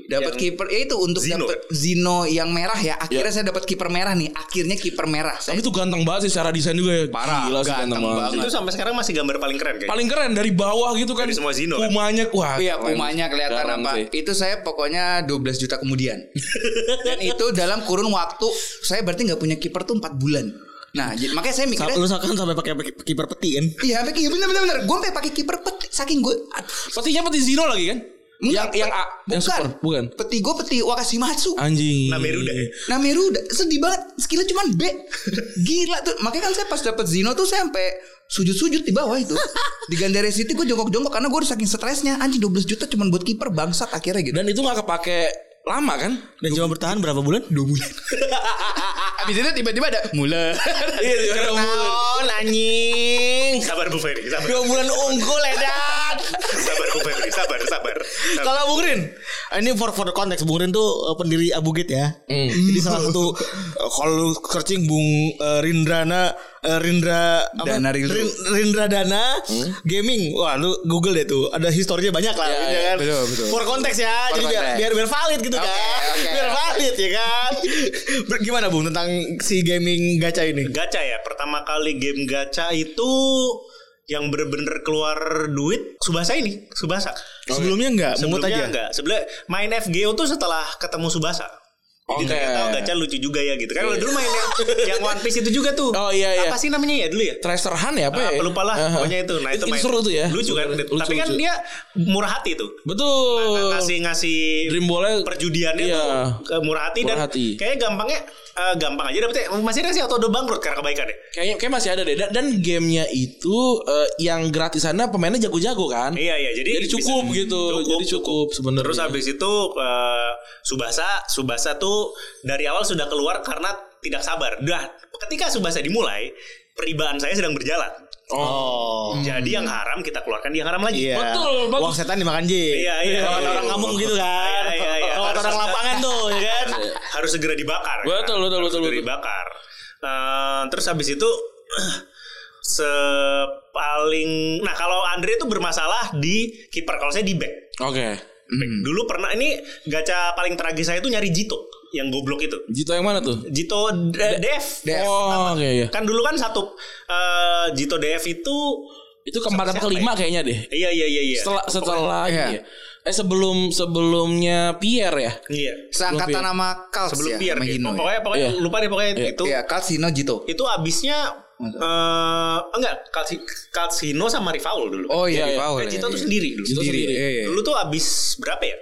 D: Dapat
C: yang-
D: kiper Ya itu untuk
C: Zino,
D: dapat Zino yang merah ya Akhirnya saya dapat kiper merah nih Akhirnya kiper merah
B: tapi
D: saya
B: itu ganteng banget sih secara desain juga ya
D: Parah,
B: Gila sih ganteng
D: ganteng
B: banget
D: banget.
C: Itu sampai sekarang masih gambar paling keren kayaknya.
B: paling keren dari bawah gitu kan
C: Dari semua Zino kan?
B: kumanya wah
D: Iya
B: keren.
D: pumanya kelihatan
B: Jarang
D: apa
B: sih.
C: Iya.
D: Itu saya pokoknya 12 juta kemudian Dan itu dalam kurun waktu Saya berarti nggak punya kiper tuh 4 bulan Nah j- makanya saya
E: Sa-
D: mikirnya
E: Lu kan sampai pakai pe- kiper peti kan?
D: Iya, sampai- iya bener-bener. Gue sampai pakai kiper pet, saking gue
B: petinya peti Zino lagi kan
C: Iya,
B: Yang yang A, yang
D: bukan.
B: super, bukan.
D: Peti gue peti Wakashimatsu.
B: Anjing.
C: Nah, Meruda ya.
D: Nah Meruda sedih banget skillnya cuma B gila tuh makanya kan saya pas dapet Zino tuh saya sampai sujud-sujud di bawah itu di Gandere City gue jongkok-jongkok karena gue udah saking stresnya anjing 12 juta cuma buat kiper bangsat akhirnya gitu
B: Dan itu nggak kepake lama kan?
E: Dan cuma bertahan berapa bulan? Dua bulan.
D: Nah, abis itu tiba-tiba ada mulai
B: Iya, dua bulan.
E: anjing.
C: Sabar Bu Ferry, sabar.
E: Dua bulan unggul edan.
C: Sabar Bu Ferry, sabar, sabar. sabar.
E: Kalau Bung Rin, ini for for the context, Bung Rin tuh eh, pendiri Abugit ya. Ini salah satu eh, kalau lu searching Bung eh, Rindrana eh, Rindra
D: Dana Rildo.
E: Rin- Rindra Dana Gaming. Wah, lu Google deh tuh. Ada historinya banyak lah
B: Ya,
E: gitu
B: ya,
E: kan.
D: betul, betul.
E: For context ya. Jadi biar,
D: context.
E: biar biar valid gitu kan.
D: oke,
E: biar valid ya kan. Ber- Gimana Bung tentang si gaming gacha ini?
C: Gacha ya, pertama kali game gacha itu yang bener-bener keluar duit Subasa ini, Subasa.
E: Sebelumnya enggak, mungut
C: Sebelumnya
E: aja.
C: enggak. Sebelum main FGO tuh setelah ketemu Subasa. Jadi
B: Oke.
C: ternyata gacha lucu juga ya gitu. Kan kalau dulu main yang, yang One Piece itu juga tuh.
B: Iya. Oh, iya, iya.
C: Apa sih namanya ya dulu ya?
B: Tracer Hunt ya apa ya?
C: Apa lupa lah
B: Aha.
C: pokoknya itu. Nah, itu, main.
B: seru tuh ya.
C: Lucu kan.
B: Lucu,
C: Tapi kan
B: lucu.
C: dia murah hati tuh. Nah,
B: betul.
C: Ngasih ngasih
B: Dream Ball-nya-
C: perjudiannya
B: Iya.
C: tuh eh, murah hati
B: Murah
C: dan
B: hati.
C: kayaknya gampangnya eh, gampang aja dapetnya. Masih ada sih atau udah bangkrut karena ya. kebaikannya.
B: Kayaknya kayak masih ada deh. Dan, dan gamenya itu eh, yang gratisannya pemainnya jago-jago kan?
C: Iya iya jadi
B: Jadi cukup
C: bisa-
B: gitu. Jadi cukup sebenarnya.
C: Terus habis itu eh, Subasa Subasa tuh dari awal sudah keluar karena tidak sabar. Dah ketika Subasa dimulai peribaan saya sedang berjalan.
E: Oh.
C: Jadi yang haram kita keluarkan yang haram lagi. Oh,
E: Iya.
B: Betul, bagus.
E: Uang setan dimakan jin.
C: Iya, iya.
E: Lewat orang kampung gitu kan.
C: Iya, iya, iya.
B: Oh,
E: Lewat orang lapangan tuh, ya kan.
D: Iya.
C: Harus segera dibakar.
B: Betul, betul, betul,
C: Harus segera
B: betul.
C: dibakar. Eh, terus habis itu sepaling nah kalau Andre itu bermasalah di kiper kalau saya di back.
B: Oke.
D: Hmm.
C: Dulu pernah ini gacha paling tragis saya itu nyari Jito yang goblok itu.
B: Jito yang mana tuh?
C: Jito D- Dev.
B: Oh, oke ya.
C: Kan dulu kan satu eh, Jito Dev itu
B: Itu keempat
C: Siapa
B: atau kelima kayaknya deh.
C: iya iya iya iya.
B: Setelah setelah
D: Iya.
B: ini ya. Eh sebelum sebelumnya Pierre ya?
C: iya.
D: seangkatan sama Kals
C: Sebelum
D: ya
C: biar
D: sama
C: gitu.
D: Hino ya.
C: Pokoknya pokoknya
B: Iya.
C: lupa deh pokoknya itu.
D: Iya, Kals Hino Jito
C: Itu abisnya eh enggak Kalsi- Kalsino sama Rifaul dulu.
D: oh
B: Iya,
D: iya,
B: iya.
D: Paul
C: Eh,
D: ya.
C: Jito tuh sendiri dulu.
B: Jito sendiri.
D: Iya, iya.
C: Dulu tuh abis berapa ya?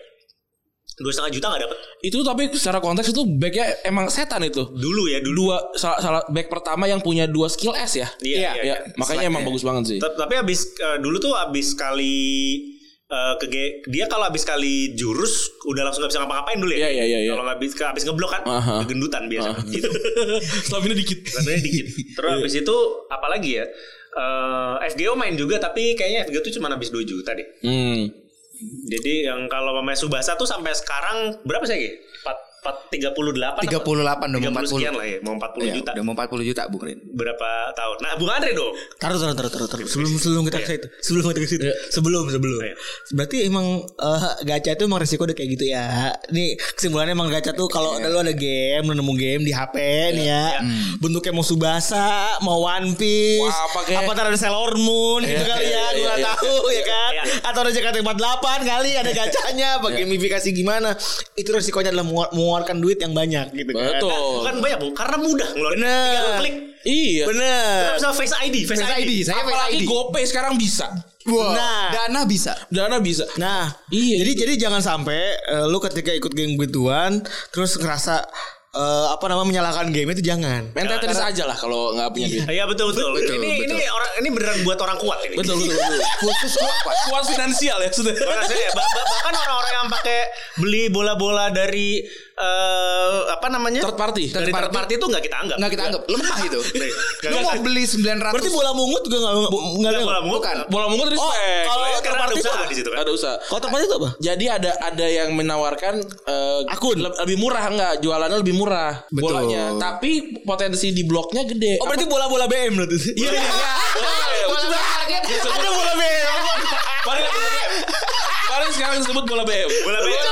C: Dua setengah juta nggak dapet.
B: Itu tapi secara konteks itu backnya emang setan itu.
C: Dulu ya dulu.
B: Dua salah, salah back pertama yang punya dua skill S ya.
C: Iya, iya, iya.
B: Makanya emang bagus banget sih.
C: Tep- Tapi abis eh, dulu tuh abis kali eh, ke G- dia kalau abis kali jurus udah langsung gak bisa ngapa-ngapain dulu ya.
B: Iya, iya, iya, iya.
C: Kalau nggak abis abis ngeblok kan
B: Aha.
C: gendutan biasa. Gitu.
B: Stamina dikit.
C: Sebenarnya dikit. Terus abis itu apalagi ya? Eh, FGO main juga tapi kayaknya FGO tuh cuma abis 2 juta deh.
B: Hmm.
C: Jadi yang kalau pemain Subasa tuh sampai sekarang berapa sih Ge? 4 4 38
D: 38 udah mau
C: 40 sekian
D: 40
C: lah ya, mau 40
D: Iya,
C: juta.
D: udah mau 40 juta Bung Rin
C: Berapa tahun? Nah, Bung Andre dong.
E: Taruh, taruh, taruh, taruh, taruh. Sebelum sebelum kita ke situ, sebelum kita ke situ, sebelum sebelum.
C: Iya.
E: Berarti emang eh, gacha itu emang resiko udah kayak gitu ya. Nih kesimpulannya emang gacha tuh kalau lu ada game, lu nemu game di HP nih ya, bentuknya mau Subasa, mau One Piece,
B: Wah, apa kayak-
E: apa taruh ada Sailor Moon gitu
B: Iya,
E: kali
B: iya,
E: ya,
B: iya,
E: gua nggak
B: iya,
E: tahu ya kan.
C: iya.
E: Atau ada JKT48 kali ada gacanya, apa gamifikasi gimana? Itu resikonya adalah mengeluar- mengeluarkan duit yang banyak
B: Iya.
E: gitu kan.
D: Oh.
B: Betul.
C: Bukan banyak, Bu, karena mudah ngeluarin.
E: Bener.
C: Tinggal klik.
B: Iya.
E: Bener.
C: Bisa Face ID, Face,
E: Face
C: ID.
E: ID, saya Face
B: Apalagi
E: ID.
B: GoPay sekarang bisa.
D: Wah,
E: Nah.
D: Dana bisa
B: Dana bisa.
E: Nah,
B: Iya,
E: Jadi jadi jangan sampai eh, lu ketika ikut game begituan terus ngerasa eh, apa namanya menyalahkan game itu jangan.
B: Main Tetris aja lah kalau nggak punya duit.
C: Iya betul betul.
D: Betul,
C: ini
D: betul.
C: ini orang ini beneran buat orang kuat ini.
B: Betul betul betul.
D: khusus kuat
B: Kuat finansial ya sudah.
C: Orang saya- bah- bah- bahkan orang-orang yang pakai beli bola-bola dari eh, apa namanya?
B: Third party.
C: Dari third party itu nggak kita anggap.
D: nggak Nah, kita anggap lemah itu
C: Nih, nggak
D: lu
C: kita-
D: mau beli 900
E: Berarti bola mungut juga nggak nggak
C: nggak
E: ada.
C: bola mungut.
D: Bukan.
B: Bola mungut tadi
E: Oh,
B: spek.
E: kalau
C: Karena ada
E: terparti itu
C: usaha
E: apa?
C: di situ kan.
B: ada usaha.
E: Kalau tempat itu apa?
B: Jadi ada ada yang menawarkan eh,
E: Akun.
B: le- lebih murah enggak jualannya lebih murah
D: Betul.
B: bolanya. Tapi potensi di bloknya gede.
E: Oh berarti bola-bola BM berarti. Iya. Ada bola BM.
B: Iya, Paling paling sekarang disebut bola BM.
C: Bola BM.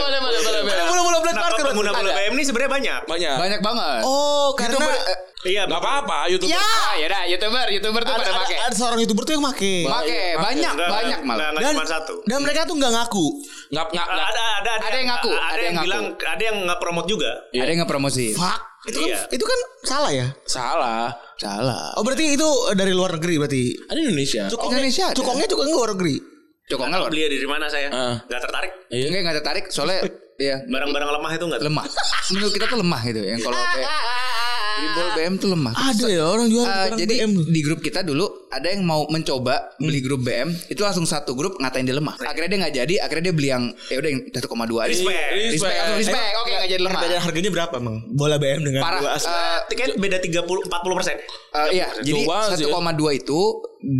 D: boleh boleh boleh Ah, boleh
E: Ada eh, bola-bola black
C: Kenapa
E: market.
C: pengguna bola
D: ada.
C: BM ini sebenarnya banyak?
B: Banyak.
D: banyak banget
E: Oh karena
D: YouTuber, eh,
C: Iya,
B: Enggak apa-apa, YouTube.
E: ya
D: ah ya dah youtuber youtuber tuh
E: ada,
D: pada
E: ada-
D: pakai
E: ada seorang youtuber tuh yang make.
D: pakai banyak
C: Nggak-
D: banyak
C: nggak-
D: malah
C: nggak cuma satu.
E: dan mereka tuh nggak ngaku.
B: Enggak enggak
C: Ada ada ada,
D: Ada yang ngaku,
C: Ada, yang,
D: ngaku.
C: bilang ada yang nggak promote juga.
B: Iya.
D: ada yang ngepromosi
E: Fuck. Itu kan,
C: Iya.
E: itu kan salah ya.
B: salah.
D: salah
E: Oh berarti itu dari luar negeri berarti.
B: Ada Indonesia.
E: Cukongnya,
D: Indonesia ada.
E: cukongnya cukongnya luar negeri.
D: Joko Anwar.
C: Beli dari mana saya?
B: Ah.
C: Nggak tertarik.
B: Iya.
D: Enggak enggak tertarik soalnya ya
C: Barang-barang lemah itu nggak.
D: lemah. Menurut kita tuh lemah gitu yang kalau kayak di bol BM tuh lemah.
E: Ada ya orang jual
D: Eh,
E: barang
D: jadi
E: BM.
D: di grup kita dulu ada yang mau mencoba beli grup BM itu langsung satu grup ngatain dia lemah. Akhirnya dia nggak jadi, akhirnya dia beli yang ya udah yang 1,2 aja.
C: Respect.
D: Respect, langsung respect. Oke nggak jadi lemah.
E: Perbedaan harganya berapa, Mang? Bola BM dengan
D: Parah.
E: bola asli.
D: Eh,
C: Tiket beda 30 40 persen.
D: Eh, iya, jadi
B: Jauh banget sih,
D: 1,2 itu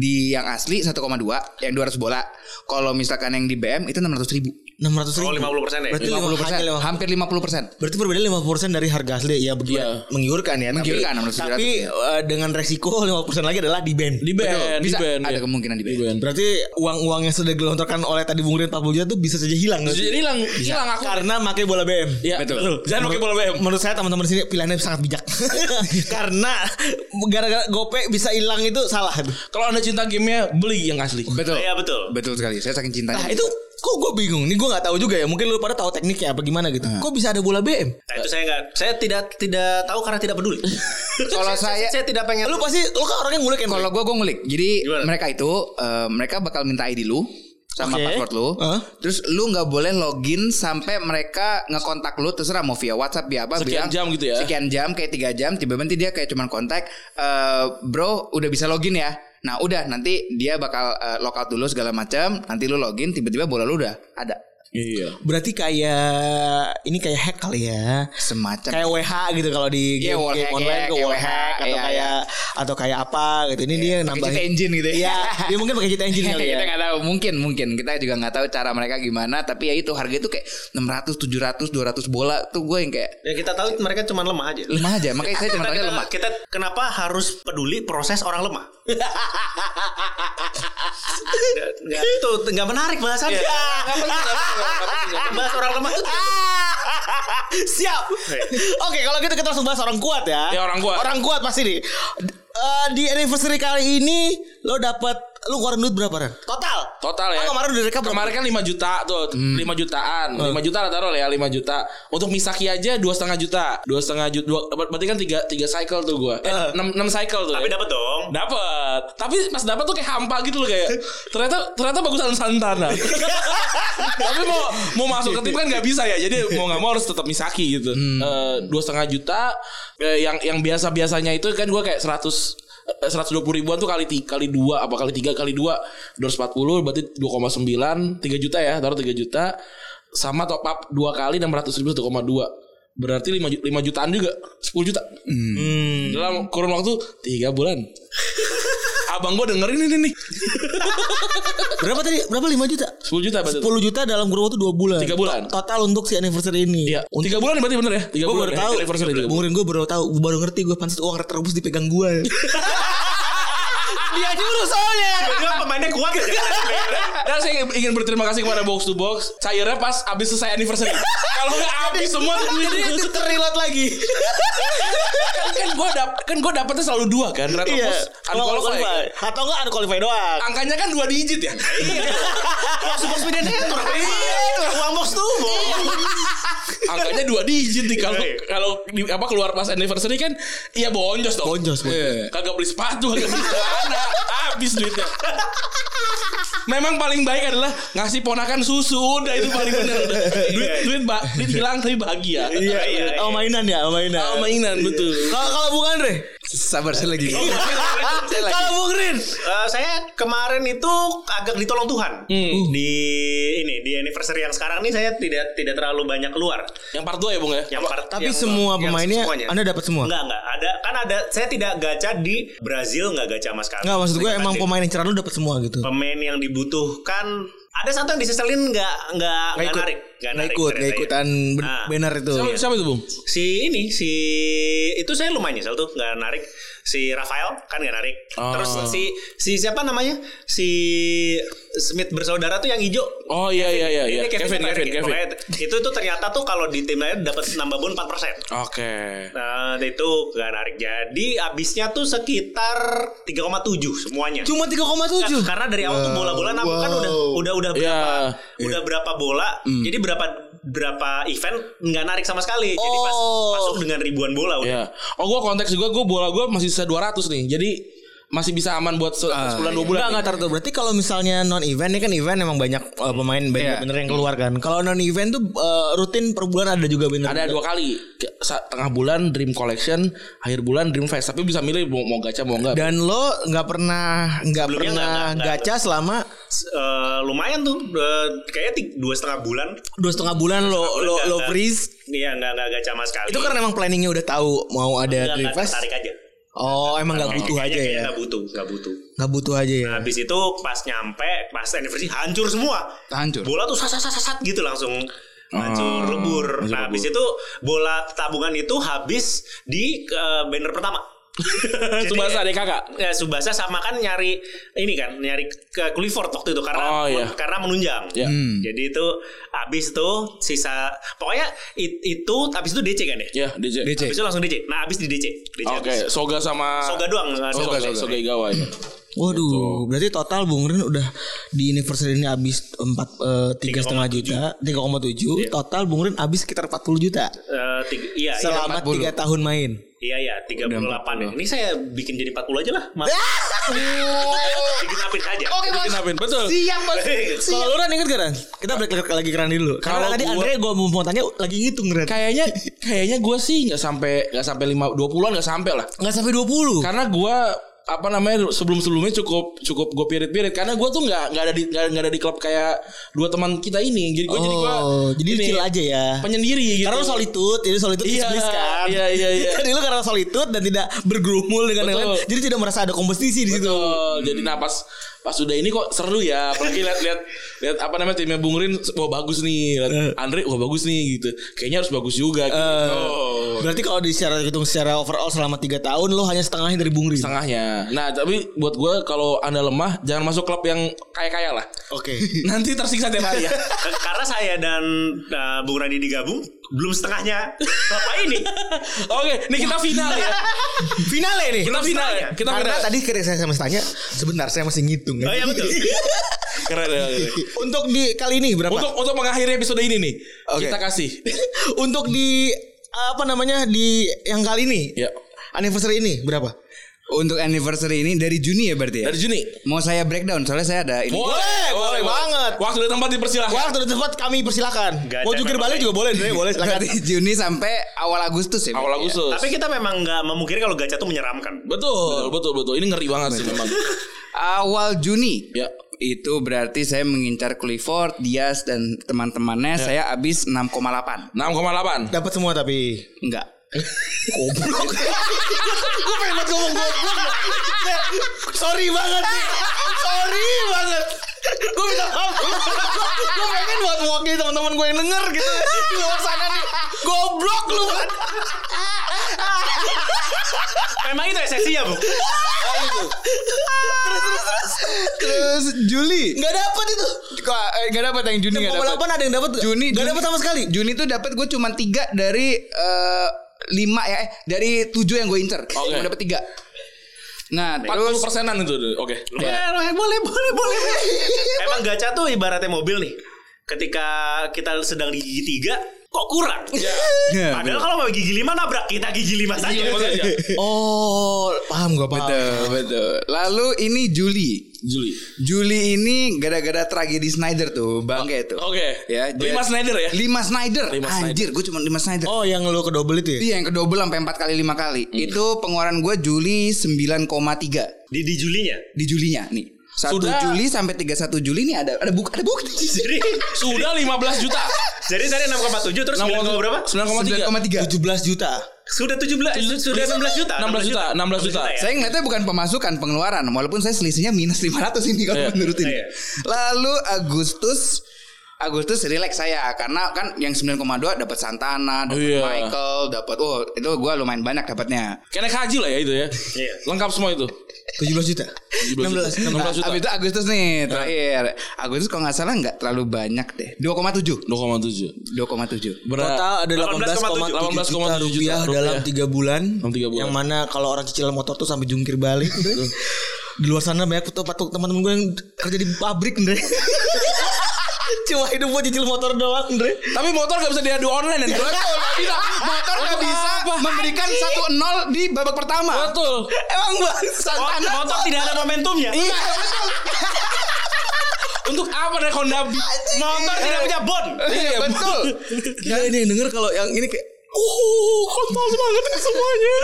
D: di yang asli 1,2, yang 200 bola. Kalau misalkan yang di BM itu 600 ribu.
E: 600 ribu.
C: Oh, 50% ya?
E: Berarti
D: 50
E: lima- hanya lima-
D: hampir 50 persen.
E: Berarti perbedaan 50% dari harga asli ya begitu
B: Iya.
E: menggiurkan ya. tapi-
D: Menggiurkan, 600,
E: Tapi eh, dengan resiko 50% lagi adalah di band.
B: Di band, di
D: Bisa,
B: band.
D: ada
B: ya.
D: kemungkinan di
B: Di
D: band.
B: band.
E: Berarti uang-uang yang sudah digelontorkan oleh tadi Bung Rin 40 juta itu bisa saja hilang. nggak sih?
B: Jadi hilang hilang aku.
E: karena pakai bola BM.
B: Iya.
E: Betul.
B: Jangan pakai bola BM.
E: Menurut saya teman-teman di sini pilihannya sangat bijak. karena gara-gara gopek bisa hilang itu salah.
B: Kalau Anda cinta gamenya beli yang asli.
D: Betul.
C: Iya, betul.
D: Betul sekali. Saya saking cintanya.
E: Nah itu kok gue bingung. Nih gue nggak tahu juga ya. Mungkin lu pada tahu tekniknya apa gimana gitu. Kok bisa ada bola BM?
C: Nah, itu saya nggak. Saya tidak tidak tahu karena tidak peduli.
D: Kalau saya-
C: saya tidak pengen.
E: Lu pasti lu kan orangnya ngulik kan.
D: Kalau gue gue ngulik. Jadi
C: Gimana?
D: mereka itu eh, mereka bakal minta ID lu sama
E: Oke.
D: password lu.
E: Hah?
D: Terus lu nggak boleh login sampai mereka ngekontak lu terserah mau via WhatsApp via apa
B: Sekian jam gitu ya.
D: Sekian jam kayak tiga jam tiba-tiba nanti dia kayak cuman kontak eh, bro udah bisa login ya. Nah, udah nanti dia bakal eh, lockout dulu segala macam, nanti lu login tiba-tiba bola lu udah ada.
B: Iya.
E: Berarti kayak ini kayak hack kali ya.
D: Semacam
E: Kayak WH gitu kalau di
D: Iya,
E: game,
D: wall
E: game
D: hack,
E: online
D: iya,
E: ke
D: kayak
E: wall hack
D: WH,
E: atau
D: iya,
E: kayak atau kayak apa gitu. Ini dia
D: pakai
E: nambahin.
D: cheat engine gitu ya.
E: Iya, dia mungkin pakai cheat engine kali ya.
D: kita nggak tahu mungkin mungkin kita juga nggak tahu cara mereka gimana tapi ya itu harga itu kayak 600 700 200 bola tuh gue yang kayak
C: Ya kita tahu mereka cuma lemah aja.
D: lemah aja makanya saya cuma
C: Kita,
D: tanya
C: kita-
D: lemah
C: kita kenapa harus peduli proses orang lemah? Nggak nggak- itu nggak menarik bahasannya.
D: Iya.
C: Bahas orang lemah itu Ah.
E: Siap.
D: Iya.
E: Oke, kalau gitu kita langsung bahas orang kuat ya.
B: Ya, orang kuat.
E: Orang kuat pasti nih. Eh, di anniversary kali ini lo dapat lu keluarin duit berapa Ren? Total.
B: Total ya.
D: Iya.
E: Oh, kemarin udah rekap berapa?
B: Kemarin kan 5 juta tuh, 5 jutaan. 5 juta lah taruh lah ya, 5 juta. Untuk Misaki aja 2,5 juta. 2,5 juta. dua- berarti kan 3 3 cycle tuh gua. Eh, 6 6 cycle tuh.
C: tapi
B: ya.
C: dapat dong.
B: Dapat. Tapi pas dapat tuh kayak hampa gitu loh kayak. Ternyata ternyata bagusan Santana. Tapi mau mau masuk ke tim kan nggak bisa ya. Jadi mau nggak mau harus tetap Misaki gitu. Eh, Dua setengah juta. eh, yang yang biasa biasanya itu kan gue kayak eh, 100 120 ribuan tuh kali ti- kali dua apa kali tiga kali dua 240 berarti 2,9 3 juta ya taruh 3 juta sama top up dua kali 600 ribu 1,2 berarti 5, ju- 5 jutaan juga 10 juta
D: Hmm.
B: dalam kurun waktu tiga bulan abang gue dengerin ini nih
E: Berapa tadi? Berapa 5 juta?
B: 10 juta berarti
E: 10 juta dalam kurun waktu 2 bulan.
B: Tiga bulan.
E: To- Total untuk si anniversary ini.
B: Iya, tiga bulan berarti bener ya? Tiga
E: Gue
B: bulan.
E: baru
B: ya?
E: tahu.
B: Anniversary tiga bulan.
E: Mungkin gue baru tahu, baru ngerti gue pantas uang terobos dipegang gue. Dia nyuruh soalnya.
C: Dia pemainnya kuat ya.
B: Dan saya ingin berterima kasih kepada Box to Box. Cairnya pas abis selesai anniversary. Kalau nggak abis semua tuh duitnya.
E: Jadi terlilat lagi.
B: kan kan gue dap kan gue dapetnya selalu dua kan. Retropus
E: Iya.
B: unqualified.
E: Unqualified. Atau enggak unqualified doang.
B: Angkanya kan dua digit ya.
C: Ah, Super Speed Network.
E: Iya.
C: Iya.
E: Uang box tuh.
B: Angkanya dua digit nih kalau
C: Iya, iya.
B: kalau di- apa keluar pas anniversary kan iya bonjos dong.
E: Bonjos, bonjos.
B: Iya. Kagak beli sepatu, kagak beli celana, habis duitnya. Memang paling baik adalah ngasih ponakan susu udah itu paling bener udah. Duit duit, ba- duit hilang tapi bahagia.
E: Iya, iya. Oh mainan ya, oh mainan.
B: Oh, mainan betul.
E: Kalau kalau Bung Andre,
D: sabar saya lagi saya lagi
E: kalau Bung Rin,
C: Eh, saya kemarin itu agak ditolong Tuhan
E: Hmm.
C: Uh. di ini di anniversary yang sekarang nih saya tidak tidak terlalu banyak keluar.
B: Yang part 2 ya, Bung ya?
C: Yang part-
E: tapi
C: yang-
E: semua
C: yang
E: pemainnya
C: semuanya.
E: Anda dapat semua.
C: Enggak, enggak. Ada kan ada saya tidak gacha di Brazil enggak gacha sama sekali.
E: Enggak maksud gue
C: Saya
E: emang
C: gacha.
E: pemain yang cerah lu dapat semua gitu.
C: pemain yang dibutuhkan ada satu yang diseselin enggak enggak enggak narik, enggak
E: Nggak
C: narik
E: ikut, nggak
C: ternyata ya.
E: ikutan Nah. Iya. ben-
C: Ah.
E: banner itu.
B: Siapa, siapa itu, Bung?
C: Si ini si itu saya lumayan nyesel tuh enggak narik. Si Rafael kan enggak narik.
E: Oh.
B: Ah.
C: Terus si si siapa namanya? Si Smith bersaudara tuh yang hijau.
B: Oh iya iya iya
E: Ah,
B: iya.
C: Ini
B: Kevin
C: Kevin,
B: Kevin Kevin.
C: Pokoknya Itu tuh ternyata tuh kalau di tim lain dapat nambah bon 4%.
B: Oke.
C: Nah, itu gak narik. Jadi abisnya tuh sekitar 3,7 semuanya.
E: Cuma 3,7.
C: Karena dari awal tuh bola-bola nabung kan udah udah udah
E: Iya,
C: berapa
B: Ya.
C: udah berapa bola.
E: Hmm.
C: Jadi berapa berapa event nggak narik sama sekali. Jadi pas
E: Oh. Iya.
B: Iya.
C: masuk dengan ribuan bola
B: Ya.
C: udah.
B: Oh, gua konteks juga gua bola gua masih sisa 200 nih. Jadi masih bisa aman buat se-
E: Ah,
B: sebulan dua bulan.
E: Enggak, enggak taruh. Berarti kalau misalnya non event ini kan event emang banyak uh, pemain banyak
D: Iya.
E: bener yang keluar kan. Kalau non event tuh uh, rutin per bulan ada juga bener.
B: Ada dua kali Ke- sa- tengah bulan Dream Collection, akhir bulan Dream Fest. Tapi bisa milih mau, mau gacha mau enggak.
E: Dan lo nggak pernah nggak
C: Sebelumnya
E: pernah
C: nggak- nggak-
E: gacha selama
C: Eh, lumayan tuh eh, kayaknya ti- dua setengah bulan
E: dua setengah bulan lo lo lo
C: Nggak-
E: freeze.
C: Iya nggak nggak nggak sama sekali.
E: Itu karena emang planningnya udah tahu mau ada
C: nggak nggak
E: request.
C: tertarik Iya, aja.
E: Oh emang nggak butuh
C: Kayaknya-
E: aja
C: kayaknya
E: ya.
C: Nggak butuh nggak butuh.
E: Nggak butuh aja ya.
C: Habis itu pas nyampe pas anniversary hancur semua.
D: Hancur.
C: Bola tuh sasat sasat sasat gitu langsung
E: Oh,
C: hancur lebur. Nah habis itu bola tabungan itu habis di eh, banner pertama. Jadi-
B: Tsubasa deh kakak.
C: Ya, Subasa sama kan nyari ini kan nyari ke Clifford waktu itu karena
B: Oh, iya.
C: karena menunjang.
B: Iya.
C: Jadi itu habis itu sisa pokoknya it- itu habis itu DC kan ya?
B: Ya, DJ.
D: DC.
C: Habis itu langsung DC. Nah, habis di DC. DC
B: Oh, Oke,
C: habis.
B: Soga sama
C: Soga doang.
B: Soga, Soga, Soga Igawa ya.
C: gitu.
E: Waduh, berarti total Bung Rin udah di anniversary ini habis empat eh, tiga setengah juta, tiga koma tujuh. Total Bung Rin habis sekitar 40 juta
C: Eh, tiga, iya, iya,
E: selama tiga tahun main.
C: iya, iya, 38 ya. Ini saya bikin jadi 40 aja lah. Mas. bikin apin aja.
B: Kenapin? Betul.
E: Siap bos.
C: Iya.
E: Kalau lu Ran inget gak Ran? Kita break lagi- lagi ke Ran dulu.
B: Kalau
E: Karena tadi
B: gua-
E: Andre gue mau tanya lagi ngitung Ran.
B: Kayaknya kayaknya gue sih nggak sampai nggak sampai lima dua puluhan nggak sampai lah.
E: Gak sampai 20
B: Karena gue apa namanya sebelum sebelumnya cukup cukup gue pirit pirit karena gue tuh nggak nggak ada di nggak, nggak ada di klub kayak dua teman kita ini jadi gue jadi gue
E: Oh, jadi
B: ini,
E: chill aja ya.
B: penyendiri gitu
E: Karena lu solitude, jadi solitude
B: Iya,
E: iblis kan.
B: iya, iya, iya.
E: Jadi lu karena solitude dan tidak bergerumul dengan yang
B: Betul.
E: lain, jadi tidak merasa ada kompetisi di situ.
B: Betul. Jadi nah pas pas udah ini kok seru ya. Apalagi lihat lihat lihat apa namanya timnya Bung Rin wah bagus nih. Lihat Andre wah bagus nih gitu. Kayaknya harus bagus juga gitu. Oh.
E: Berarti kalau di secara hitung secara overall selama 3 tahun lo hanya setengahnya dari Bung Rin.
B: Setengahnya. Nah, tapi buat gue kalau Anda lemah jangan masuk klub yang kaya-kaya lah.
E: Oke.
B: Nanti tersiksa tiap hari ya.
C: Karena saya dan uh, Bung Radi digabung belum setengahnya apa ini.
B: Oke, ini kita final ya.
E: Finale nih.
B: Kita final ya. Kita
E: Karena
B: final.
E: tadi ketika saya masih tanya, sebentar saya masih ngitung. ya.
C: Oh iya betul.
B: Keren, keren, keren.
E: Untuk di kali ini berapa?
B: Untuk untuk mengakhiri episode ini nih,
E: Oke.
B: kita kasih.
E: Untuk di apa namanya di yang kali ini
B: Ya.
E: anniversary ini berapa?
D: Untuk anniversary ini dari Juni ya berarti ya?
B: Dari Juni.
D: Mau saya breakdown soalnya saya ada ini.
E: Boleh, boleh banget.
B: Waktu dan tempat dipersilahkan.
E: Waktu dan tempat kami persilakan.
C: Nggak
E: Mau
C: ada
E: jungkir balik
C: memang.
E: juga boleh, Dre, boleh. Silakan.
D: Dari Juni sampai awal Agustus
B: Awal
D: ya. berarti ya?
B: Agustus.
C: Tapi kita memang nggak memungkiri kalau gacha tuh menyeramkan.
B: Betul, betul, betul. Ini ngeri banget sih memang.
D: Awal Juni.
B: Ya.
D: Itu berarti saya mengincar Clifford, Diaz dan teman-temannya saya habis 6,8.
B: 6,8.
E: Dapat semua tapi
D: Enggak.
E: goblok. Gue pengen banget ngomong goblok. Sorry banget. nih. Sorry banget. Gue minta maaf. Gue pengen buat mewakili teman-teman gue yang denger gitu di luar sana nih. Goblok lu.
C: Memang itu esensinya, ya, Bu.
D: Terus
E: Eh,
D: Juli.
E: Gak dapet itu.
D: Kok eh, enggak dapat yang Juni enggak dapat.
E: 6,8 ada yang dapat
D: Juni
E: Gak
D: Juni-
E: dapat sama sekali.
D: Juni tuh dapat gue cuma 3 dari eh, lima 5 ya eh dari 7 yang gue incer.
B: Oke.
D: Gue dapat 3. Nah,
B: 40
D: terus Eh,
B: persenan itu. Oke.
D: Iya.
C: Ya, boleh, boleh, boleh. Emang gacha tuh ibaratnya mobil nih. Ketika kita sedang di gigi tiga, kok kurang?
D: Ya,
C: Padahal kalau mau gigi lima nabrak, kita gigi lima saja.
B: Gigi lima saja.
E: Oh, paham gue paham.
D: betul, betul. Lalu ini Juli.
B: Juli.
D: Juli ini gara-gara tragedi Snyder tuh, bangke tuh.
B: Oke.
D: Ya, jadi-
B: Lima Snyder ya.
D: Lima Snyder.
B: Lima
D: Anjir, gue cuma lima Snyder.
E: Oh, yang lo kedobel itu ya?
D: Iya yang kedobel sampai 4 kali 5 kali.
B: Hmm.
D: Itu pengeluaran gue Juli 9,3
C: Di, di Julinya.
D: di Julinya nih. 1
B: Sudah.
D: Juli sampai 31 Juli ini ada ada bukti ada bukti.
C: Jadi,
B: Sudah 15 juta.
C: jadi tadi 6,7 terus 9, berapa?
B: 9,3.
D: 9,3.
E: 17 juta.
C: Sudah 17, sudah 16 juta.
B: 16 juta, Nah. 16 juta.
C: ya.
D: Saya ngeliatnya bukan pemasukan pengeluaran walaupun saya selisihnya minus 500 ini
B: Iya.
D: kalau menurut ini.
C: Iya.
D: Lalu Agustus Agustus relax saya karena kan yang 9,2 dapat Santana, dapat
B: Iya.
D: Michael, dapat oh itu gue lumayan banyak dapatnya.
B: Kena haji lah ya itu ya.
C: Iya.
B: Lengkap semua itu.
E: 17 juta.
B: 16 16
D: Nah, abis
B: juta. Iya.
D: itu Agustus nih terakhir. Agustus kalau nggak salah nggak terlalu banyak deh. 2,7.
B: 2,7.
D: 2,7
E: Total ada 18,7
B: 18,7
E: juta rupiah
B: rupiah.
E: dalam 3 bulan.
B: Dalam tiga bulan.
E: Yang mana kalau orang cicilan motor tuh sampai jungkir balik. gitu. Di luar sana banyak tempat teman-teman gue yang kerja di pabrik, Andre. Cuma hidup buat cicil motor doang, Andre.
B: Tapi motor gak bisa diadu online dan
D: motor nggak bisa
B: Apa?
D: memberikan satu nol di babak pertama.
B: Betul.
D: Emang bangsa
C: Motor, motor tidak Iya. ada momentumnya.
B: Untuk apa dari Honda Beat?
C: Motor tidak punya bon.
B: Iya,
D: Betul.
E: Gila Iya, ini yang denger kalau yang ini kayak
B: Uh, kontol banget semuanya.